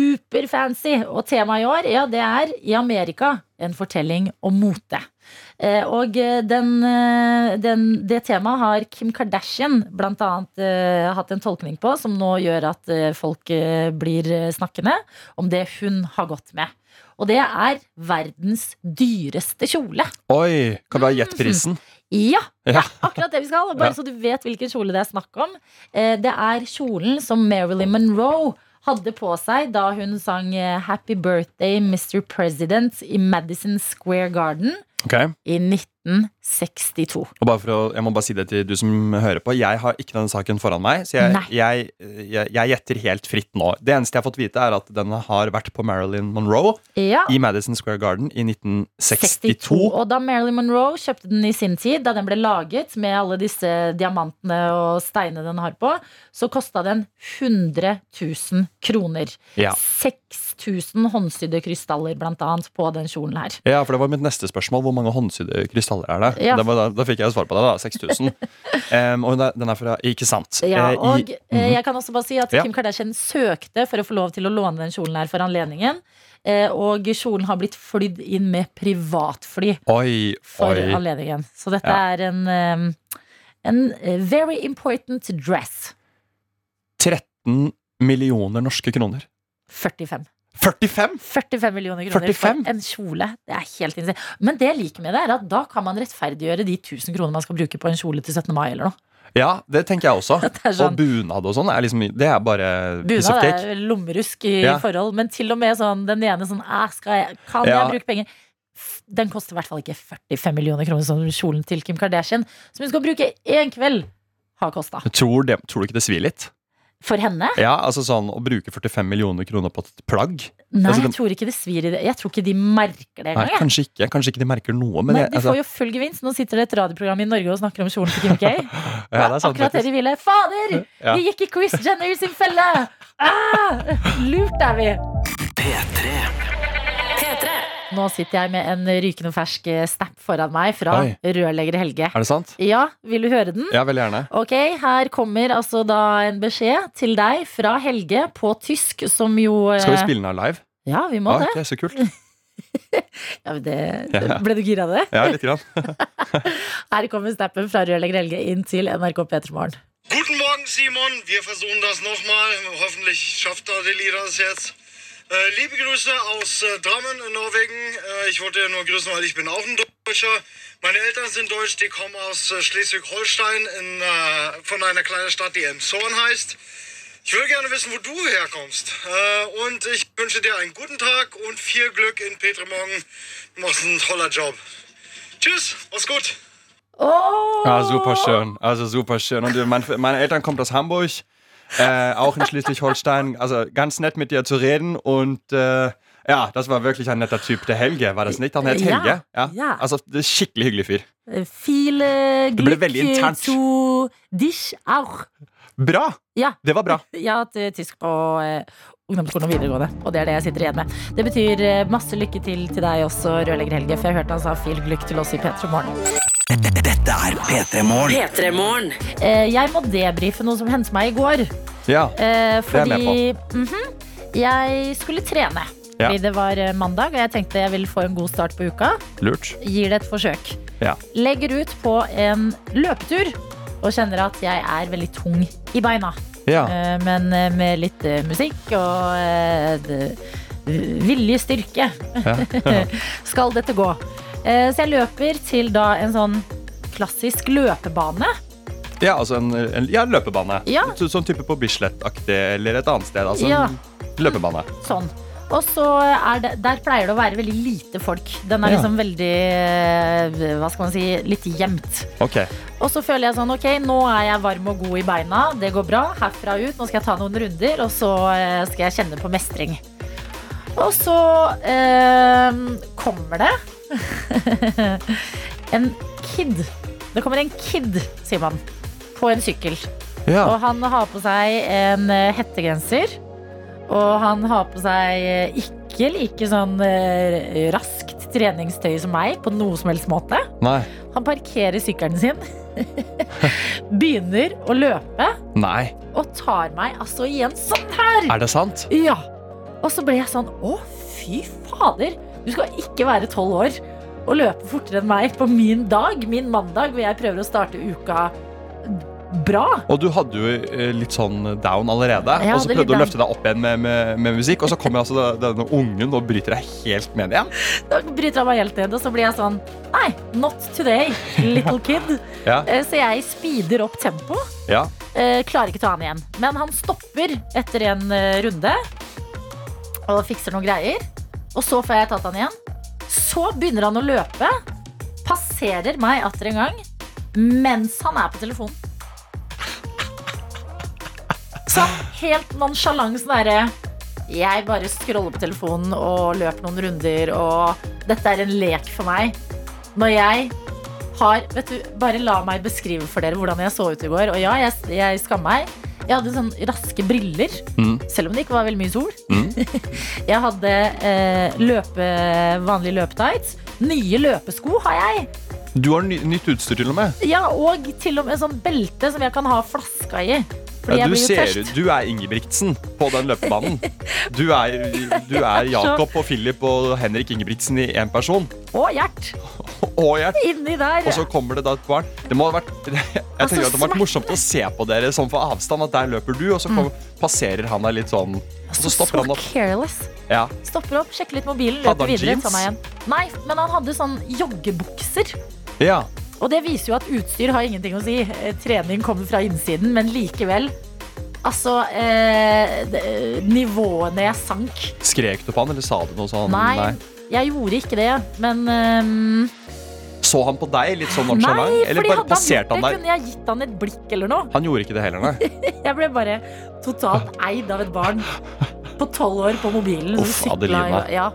Speaker 4: superfancy. Og temaet i år, ja, det er I Amerika en fortelling om mote. Eh, Og eh, den, eh, den, det temaet har Kim Kardashian blant annet eh, hatt en tolkning på, som nå gjør at eh, folk eh, blir eh, snakkende om det hun har gått med. Og det er verdens dyreste kjole.
Speaker 5: Oi! Kan vi ha gjett prisen?
Speaker 4: Ja, det
Speaker 5: Ja.
Speaker 4: er akkurat det vi skal. Bare
Speaker 5: Ja.
Speaker 4: så du vet hvilken kjole det er snakk om. Eh, Det er kjolen som Marilyn Monroe hadde på seg da hun sang eh, Happy Birthday Mr. President i Madison Square Garden
Speaker 5: Ok, og
Speaker 4: i 1962.
Speaker 5: bare for å, Jeg må bare si det til du som hører på. Jeg har ikke denne saken foran meg, så jeg,
Speaker 4: Nei.
Speaker 5: jeg, jeg, jeg gjetter helt fritt nå. Det eneste jeg har fått vite, er at den har vært på Marilyn Monroe
Speaker 4: Ja.
Speaker 5: i Madison Square Garden i 1962.
Speaker 4: Og da Marilyn Monroe kjøpte den i sin tid, da den ble laget med alle disse diamantene og steinene den har på, så kosta den 100 000 kroner.
Speaker 5: Ja.
Speaker 4: 6000 håndsydde krystaller, blant annet, på den kjolen her.
Speaker 5: Ja, for det var mitt neste spørsmål. Hvor mange håndsydde krystaller er det?
Speaker 4: Ja.
Speaker 5: Da, var- da, da fikk jeg jo svar på det, da. 6000.
Speaker 4: (laughs)
Speaker 5: Em, og den er- den er fra Ikke sant.
Speaker 4: Ja,
Speaker 5: Eh, i-
Speaker 4: og eh,
Speaker 5: Mhm.
Speaker 4: jeg kan også bare si at
Speaker 5: Ja.
Speaker 4: Kim Kardashian søkte for å få lov til å låne den kjolen her for anledningen. eh, Og kjolen har blitt flydd inn med privatfly
Speaker 5: Oi,
Speaker 4: for
Speaker 5: oi.
Speaker 4: anledningen. Så dette
Speaker 5: Ja.
Speaker 4: er en, eh, en eh, very important dress.
Speaker 5: 13 millioner norske kroner.
Speaker 4: 45.
Speaker 5: 45?!
Speaker 4: 45 millioner kroner
Speaker 5: 45?
Speaker 4: for en kjole. Det er helt insane. Men det jeg liker med det, er at da kan man rettferdiggjøre de 1000 kronene man skal bruke på en kjole til 17. mai eller noe.
Speaker 5: Ja, det tenker jeg også.
Speaker 4: (laughs) Det er sånn,
Speaker 5: Og bunad og sånn er liksom Det er bare piece of
Speaker 4: Bunad
Speaker 5: cake.
Speaker 4: er lommerusk i
Speaker 5: Ja.
Speaker 4: forhold, men til og med sånn den ene sånn «Æ, skal jeg, Kan
Speaker 5: Ja.
Speaker 4: jeg bruke penger? F- Den koster i hvert fall ikke 45 millioner kroner, som kjolen til Kim Kardashian, som hun skal bruke én kveld, har kosta.
Speaker 5: Tror, det, tror du ikke det svir litt?
Speaker 4: For henne?
Speaker 5: Ja, altså sånn Å bruke 45 millioner kroner på et plagg?
Speaker 4: Nei,
Speaker 5: Altså,
Speaker 4: jeg
Speaker 5: den-
Speaker 4: tror ikke det svir i det. Jeg tror ikke de merker det
Speaker 5: Nei,
Speaker 4: engang. jeg.
Speaker 5: kanskje ikke. Kanskje ikke de merker noe, men
Speaker 4: Nei,
Speaker 5: jeg,
Speaker 4: de
Speaker 5: altså,
Speaker 4: får jo full gevinst. Nå sitter det et radioprogram i Norge og snakker om kjolen til Kim K.
Speaker 5: ja, det er sant,
Speaker 4: akkurat det
Speaker 5: faktisk.
Speaker 4: de ville. Fader!
Speaker 5: Ja.
Speaker 4: Vi gikk i Chris Jenner sin felle! Ah, lurt er vi!
Speaker 3: P3.
Speaker 4: Nå sitter jeg med en rykende fersk eh, snap foran meg fra
Speaker 5: Oi.
Speaker 4: rørlegger Helge.
Speaker 5: Er det sant?
Speaker 4: Ja, vil du høre den?
Speaker 5: Ja, veldig gjerne.
Speaker 4: Ok, her kommer altså da en beskjed til deg fra Helge på tysk, som jo eh,
Speaker 5: Skal vi spille den her live?
Speaker 4: Ja, vi må
Speaker 5: Ah,
Speaker 4: det.
Speaker 5: ok, så kult.
Speaker 4: Ja, men det,
Speaker 5: Ja.
Speaker 4: Ble du gira av det?
Speaker 5: Ja, litt grann.
Speaker 4: Her kommer snappen fra rørlegger Helge inn til NRK Petermorgen.
Speaker 10: Guten Morgen, Simon. Wir versuchen das nochmal. Hoffentlich schafft Adelie das jetzt. Äh, liebe Grüße aus äh, Drammen in Norwegen. Äh, ich wollte ja nur grüßen, weil ich bin auch ein Deutscher. Meine Eltern sind deutsch, die kommen aus äh, Schleswig-Holstein in, äh, von einer kleinen Stadt, die Emshorn heißt. Ich will gerne wissen, wo du herkommst. Äh, Und ich wünsche dir einen guten Tag und viel Glück in Petremorgen. Du machst einen toller Job. Tschüss, mach's gut.
Speaker 5: Ja, super schön. Also super schön. Und mein, meine Eltern kommen aus Hamburg, äh, auch in Schleswig-Holstein. Also ganz nett mit dir zu reden. Und äh, ja, das war wirklich ein netter Typ. Der Helge, var det ikke? Han het
Speaker 4: Ja,
Speaker 5: Helge. Also,
Speaker 4: ja.
Speaker 5: Altså, det er skikkelig hyggelig fyr.
Speaker 4: Viele
Speaker 5: ble veldig
Speaker 4: Eh, Glück
Speaker 5: internt.
Speaker 4: zu dich auch.
Speaker 5: Bra!
Speaker 4: Ja.
Speaker 5: Det var bra.
Speaker 4: Jeg har hatt eh, tysk på eh, ungdomsskolen og videregående, og det er det jeg sitter igjen med. Det betyr eh, masse lykke til til deg også, rørlegger Helge, for jeg hørte han sa fil glykk til oss i P3 Morgen.
Speaker 3: P3-morgen.
Speaker 4: Eh, Jeg må debrife noe som hendte meg i går.
Speaker 5: Ja.
Speaker 4: Eh,
Speaker 5: er jeg med
Speaker 4: fordi mhm, jeg skulle trene.
Speaker 5: Ja.
Speaker 4: Fordi det var eh, mandag, og jeg tenkte jeg ville få en god start på uka.
Speaker 5: Lurt.
Speaker 4: Gir det et forsøk.
Speaker 5: Ja.
Speaker 4: Legger ut på en løpetur og kjenner at jeg er veldig tung i beina.
Speaker 5: Ja.
Speaker 4: Eh, Men eh, med litt eh, musikk og eh, det- eh, vilje styrke (laughs) skal dette gå. Eh, Så jeg løper til da en sånn klassisk løpebane.
Speaker 5: ja, altså en, en ja, løpebane.
Speaker 4: Ja.
Speaker 5: Så, sånn type på Bislett-aktig eller et annet sted. Altså
Speaker 4: Ja.
Speaker 5: en løpebane.
Speaker 4: Sånn. Og så er det, der pleier det å være veldig lite folk. Den er
Speaker 5: Ja.
Speaker 4: liksom veldig eh, Hva skal man si? Litt gjemt.
Speaker 5: Ok.
Speaker 4: Og så føler jeg sånn, ok, nå er jeg varm og god i beina, det går bra, herfra ut, nå skal jeg ta noen runder, og så eh, skal jeg kjenne på mestring. Og så eh, kommer det (laughs) en kid. Det kommer en kid, sier man, på en sykkel. Og
Speaker 5: Ja.
Speaker 4: han har på seg en eh, hettegenser, og han har på seg eh, ikke like sånn eh, raskt treningstøy som meg, på noe som helst måte.
Speaker 5: Nei.
Speaker 4: Han parkerer sykkelen sin, (laughs) begynner å løpe
Speaker 5: Nei.
Speaker 4: og tar meg altså igjen sånn her.
Speaker 5: Er det sant?
Speaker 4: Ja. Og så ble jeg sånn Å, fy fader. Du skal ikke være tolv år og løpe fortere enn meg på min dag, min mandag, hvor jeg prøver å starte uka bra.
Speaker 5: Og du hadde jo eh, litt sånn down allerede.
Speaker 4: Jeg
Speaker 5: og så
Speaker 4: hadde
Speaker 5: prøvde
Speaker 4: litt
Speaker 5: du å
Speaker 4: down.
Speaker 5: løfte deg opp igjen med, med, med musikk, og så kommer altså da- denne ungen og bryter deg helt ned igjen.
Speaker 4: Da bryter han meg helt ned, og så blir jeg sånn Nei, not today, little kid.
Speaker 5: Ja.
Speaker 4: Eh, Så jeg speeder opp tempoet.
Speaker 5: Ja.
Speaker 4: Eh, klarer ikke ta han igjen. Men han stopper etter en eh, runde og fikser noen greier. Og så får jeg tatt han igjen. Så begynner han å løpe. Passerer meg atter en gang mens han er på telefonen. Så helt nonsjalant sånn derre Jeg bare scroller på telefonen og løper noen runder, og dette er en lek for meg. Når jeg har Vet du, bare la meg beskrive for dere hvordan jeg så ut i går. Og ja, jeg, jeg skammer meg. Jeg hadde sånn raske briller,
Speaker 5: Mm.
Speaker 4: selv om det ikke var veldig mye sol.
Speaker 5: Mm.
Speaker 4: (laughs) jeg hadde eh, løpe, vanlige løpetights. Nye løpesko har jeg.
Speaker 5: Du har ny, nytt utstyr til og med.
Speaker 4: Ja, og til og med sånn belte som jeg kan ha flaska i. Fordi jeg
Speaker 5: Ja, du,
Speaker 4: blir jo
Speaker 5: ser,
Speaker 4: tørst.
Speaker 5: ut- du er Ingebrigtsen på den
Speaker 4: (laughs)
Speaker 5: løpebanen. Du er, du er Jakob og Philip og Henrik Ingebrigtsen i én person.
Speaker 4: Og Gjert.
Speaker 5: Og Gjert.
Speaker 4: Inni der.
Speaker 5: Og så kommer det da et barn. Det må ha vært, (laughs) jeg
Speaker 4: Altså,
Speaker 5: tenker at det må ha vært morsomt å se på dere sånn for avstand. At der løper du, og så kommer,
Speaker 4: Mm.
Speaker 5: passerer han deg litt sånn. Og så stopper han opp.
Speaker 4: careless.
Speaker 5: Ja.
Speaker 4: Stopper opp, sjekker litt mobilen,
Speaker 5: Hadde
Speaker 4: løper
Speaker 5: han
Speaker 4: videre.
Speaker 5: jeans?
Speaker 4: tar meg igjen. Nei, men han hadde sånn joggebukser.
Speaker 5: ja.
Speaker 4: Og det viser jo at utstyr har ingenting å si. Eh, Trening kommer fra innsiden, men likevel. Altså, eh, det- eh, nivåene jeg sank
Speaker 5: Skrek du på han, eller sa du noe sånn?
Speaker 4: Nei, jeg gjorde ikke det, men ehm,
Speaker 5: Så han på deg litt sånn nonchalant?
Speaker 4: Nei,
Speaker 5: Eller
Speaker 4: fordi
Speaker 5: bare
Speaker 4: hadde han
Speaker 5: passerte
Speaker 4: gjort
Speaker 5: han
Speaker 4: det,
Speaker 5: deg?
Speaker 4: kunne jeg gitt han et blikk eller noe.
Speaker 5: Han gjorde ikke det heller,
Speaker 4: (laughs)
Speaker 5: nei.
Speaker 4: Jeg ble bare totalt eid av et
Speaker 5: (laughs)
Speaker 4: barn på tolv år på mobilen. som
Speaker 5: Uff,
Speaker 4: sykla i-
Speaker 5: Adelina.
Speaker 4: Ja.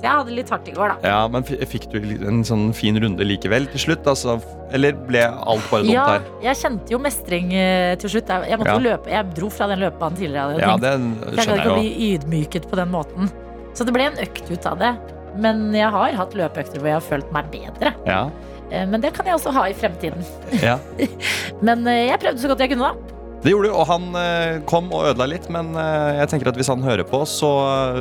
Speaker 4: Så jeg hadde litt hardt i går, da.
Speaker 5: Ja, men f- fikk du en sånn fin runde likevel til slutt? Altså, eller ble alt bare dumt
Speaker 4: Ja,
Speaker 5: her?
Speaker 4: jeg kjente jo mestring eh, til slutt. Jeg, jeg, måtte jo
Speaker 5: Ja.
Speaker 4: løpe. jeg dro fra den løpebanen tidligere. Jeg hadde
Speaker 5: Ja,
Speaker 4: tenkt
Speaker 5: det
Speaker 4: Jeg gadd
Speaker 5: skjønner
Speaker 4: ikke å
Speaker 5: jeg jo.
Speaker 4: bli ydmyket på den måten. Så det ble en økt ut av det. Men jeg har hatt løpeøkter hvor jeg har følt meg bedre.
Speaker 5: Ja,
Speaker 4: Eh, Men det kan jeg også ha i fremtiden.
Speaker 5: ja.
Speaker 4: Men eh, jeg prøvde så godt jeg kunne, da.
Speaker 5: Det gjorde du, og han eh, kom og ødela litt, men eh, jeg tenker at hvis han hører på, så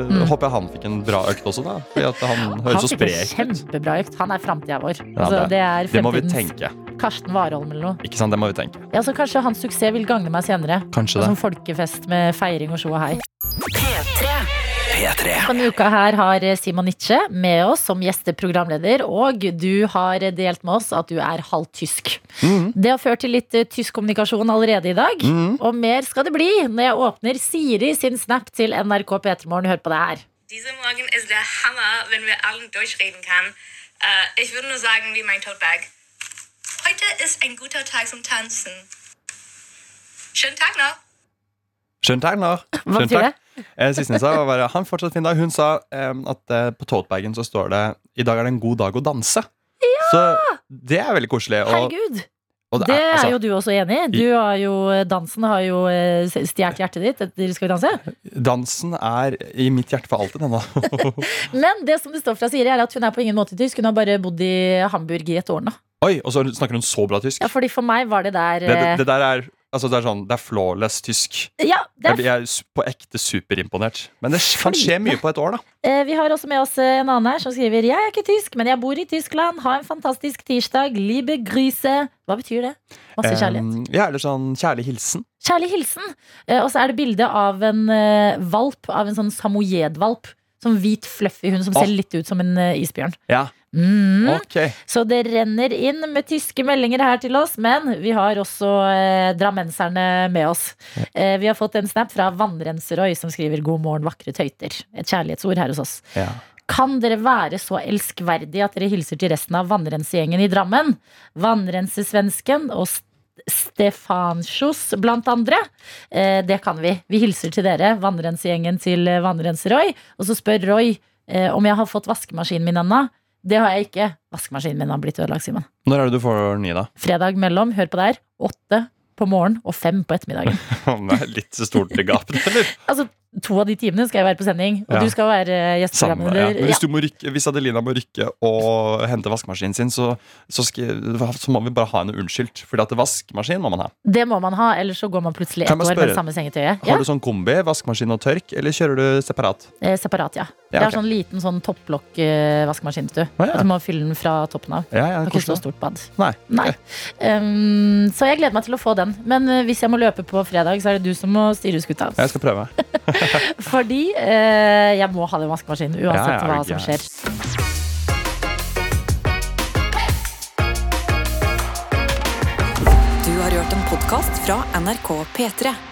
Speaker 5: eh,
Speaker 4: Mm.
Speaker 5: håper jeg han fikk en bra økt også, da. Fordi at han høres
Speaker 4: Han
Speaker 5: så
Speaker 4: fikk en
Speaker 5: sprek ut.
Speaker 4: kjempebra økt. Han er framtida vår.
Speaker 5: Ja,
Speaker 4: så
Speaker 5: det-
Speaker 4: det er
Speaker 5: Det må vi
Speaker 4: fremtidens
Speaker 5: tenke.
Speaker 4: Karsten Warholm eller noe.
Speaker 5: Ikke sant, det må vi tenke.
Speaker 4: Ja, så kanskje hans suksess vil gagne meg senere.
Speaker 5: Kanskje det.
Speaker 4: Som folkefest med feiring og sjå og hei. Denne uka her har Simon Nitsche med oss som gjesteprogramleder, og du har delt med oss at du er halvt tysk.
Speaker 5: Mhm.
Speaker 4: Det har ført til litt eh, tysk kommunikasjon allerede i dag, og mer skal det bli når jeg åpner Siri sin snap til NRK P3morgen. Hør på det her.
Speaker 11: Dieser Morgen ist der Hammer, wenn wir allen durchreden kann. Äh, ich würde nur sagen, wie mein Totebag. Heute ist ein guter Tag zum Tanzen. Schönen Tag noch.
Speaker 5: Skjønt her nå.
Speaker 4: Hva
Speaker 5: Skjønt
Speaker 4: betyr
Speaker 5: her.
Speaker 4: det?
Speaker 5: Eh, Sisten sa var han fortsatt fin dag. Hun sa eh, at eh, på totebagen så står det I dag er det en god dag å danse. Så det er veldig koselig. Og,
Speaker 4: Herregud!
Speaker 5: og
Speaker 4: Det er
Speaker 5: altså,
Speaker 4: jo du også enig i. Du har jo, dansen har jo eh, stjålet hjertet ditt etter Skal vi danse.
Speaker 5: Dansen er i mitt hjerte for alltid ennå.
Speaker 4: Men det som det står fra Siri, er at hun er på ingen måte tysk. Hun har bare bodd i Hamburg i et år nå.
Speaker 5: (laughs) Oi, og så snakker hun så bra tysk.
Speaker 4: Ja, fordi for meg var det der
Speaker 5: Det, det,
Speaker 4: eh,
Speaker 5: det der er Altså det er sånn, det er flawless tysk.
Speaker 4: Ja, det
Speaker 5: Jeg
Speaker 4: er
Speaker 5: blir- jeg er su- på ekte superimponert. Men det kan skje mye på et år, da.
Speaker 4: Eh, Vi har også med oss eh, en annen her som skriver Jeg er ikke tysk, men jeg bor i Tyskland. Ha en fantastisk tirsdag. Liebe Grüße. Hva betyr det? Masse kjærlighet.
Speaker 5: Eh, ja, eller sånn kjærlig hilsen.
Speaker 4: Kjærlig hilsen. Eh, Og så er det bilde av en eh, valp, av en sånn samojedvalp. Sånn hvit, fluffy hund som
Speaker 5: Åh.
Speaker 4: ser litt ut som en eh, isbjørn.
Speaker 5: Ja,
Speaker 4: Mm.
Speaker 5: ok.
Speaker 4: Så det renner inn med tyske meldinger her til oss, men vi har også eh, drammenserne med oss. Eh, vi har fått en snap fra Vannrenserøy som skriver 'God morgen, vakre tøyter'. Et kjærlighetsord her hos oss.
Speaker 5: Ja.
Speaker 4: Kan dere være så elskverdige at dere hilser til resten av vannrensegjengen i Drammen? Vannrensesvensken og St- Stefansjos blant andre. Eh, det kan vi. Vi hilser til dere, vannrensegjengen til eh, Vannrenser-Roy. Og så spør Roy eh, om jeg har fått vaskemaskinen min ennå. Det har jeg ikke. Vaskemaskinen min har blitt ødelagt, Simon.
Speaker 5: Når er det du får den i, da? (laughs)
Speaker 4: Fredag mellom, hør på der, åtte på morgenen og fem på ettermiddagen.
Speaker 5: Det er litt stort
Speaker 4: (laughs)
Speaker 5: gap, eller?
Speaker 4: Altså, to av de timene skal jeg være på sending, og
Speaker 5: Ja.
Speaker 4: du skal være eh,
Speaker 5: Samme, ja.
Speaker 4: gjesteprogramleder.
Speaker 5: Men
Speaker 4: Ja.
Speaker 5: hvis, du må rykke, hvis Adelina må rykke og hente vaskemaskinen sin, så, så, skal, så må vi bare ha henne unnskyldt. Fordi at vaskemaskin må man ha.
Speaker 4: Det må man ha, ellers så går man plutselig ett
Speaker 5: Kan jeg bare
Speaker 4: år med
Speaker 5: spørre?
Speaker 4: samme sengetøyet.
Speaker 5: Har du sånn kombi, vaskemaskin og tørk, eller kjører du separat?
Speaker 4: Eh, separat, ja.
Speaker 5: Ja,
Speaker 4: Det
Speaker 5: ok.
Speaker 4: er sånn liten sånn topplokk-vaskemaskin. du.
Speaker 5: Å, ja.
Speaker 4: At Du må fylle den fra toppen av.
Speaker 5: Ja, ja,
Speaker 4: Det er ikke så
Speaker 5: koselig.
Speaker 4: stort bad.
Speaker 5: Nei.
Speaker 4: Nei. Um, så jeg gleder meg til å få den. Men eh, hvis jeg må løpe på fredag, så er det du som må styre skuta.
Speaker 5: Jeg skal prøve.
Speaker 4: Fordi eh, jeg må ha den vaskemaskinen uansett
Speaker 5: Ja, ja,
Speaker 4: hva
Speaker 5: er du
Speaker 4: som skjer.
Speaker 1: Du har hørt en podkast fra NRK P3.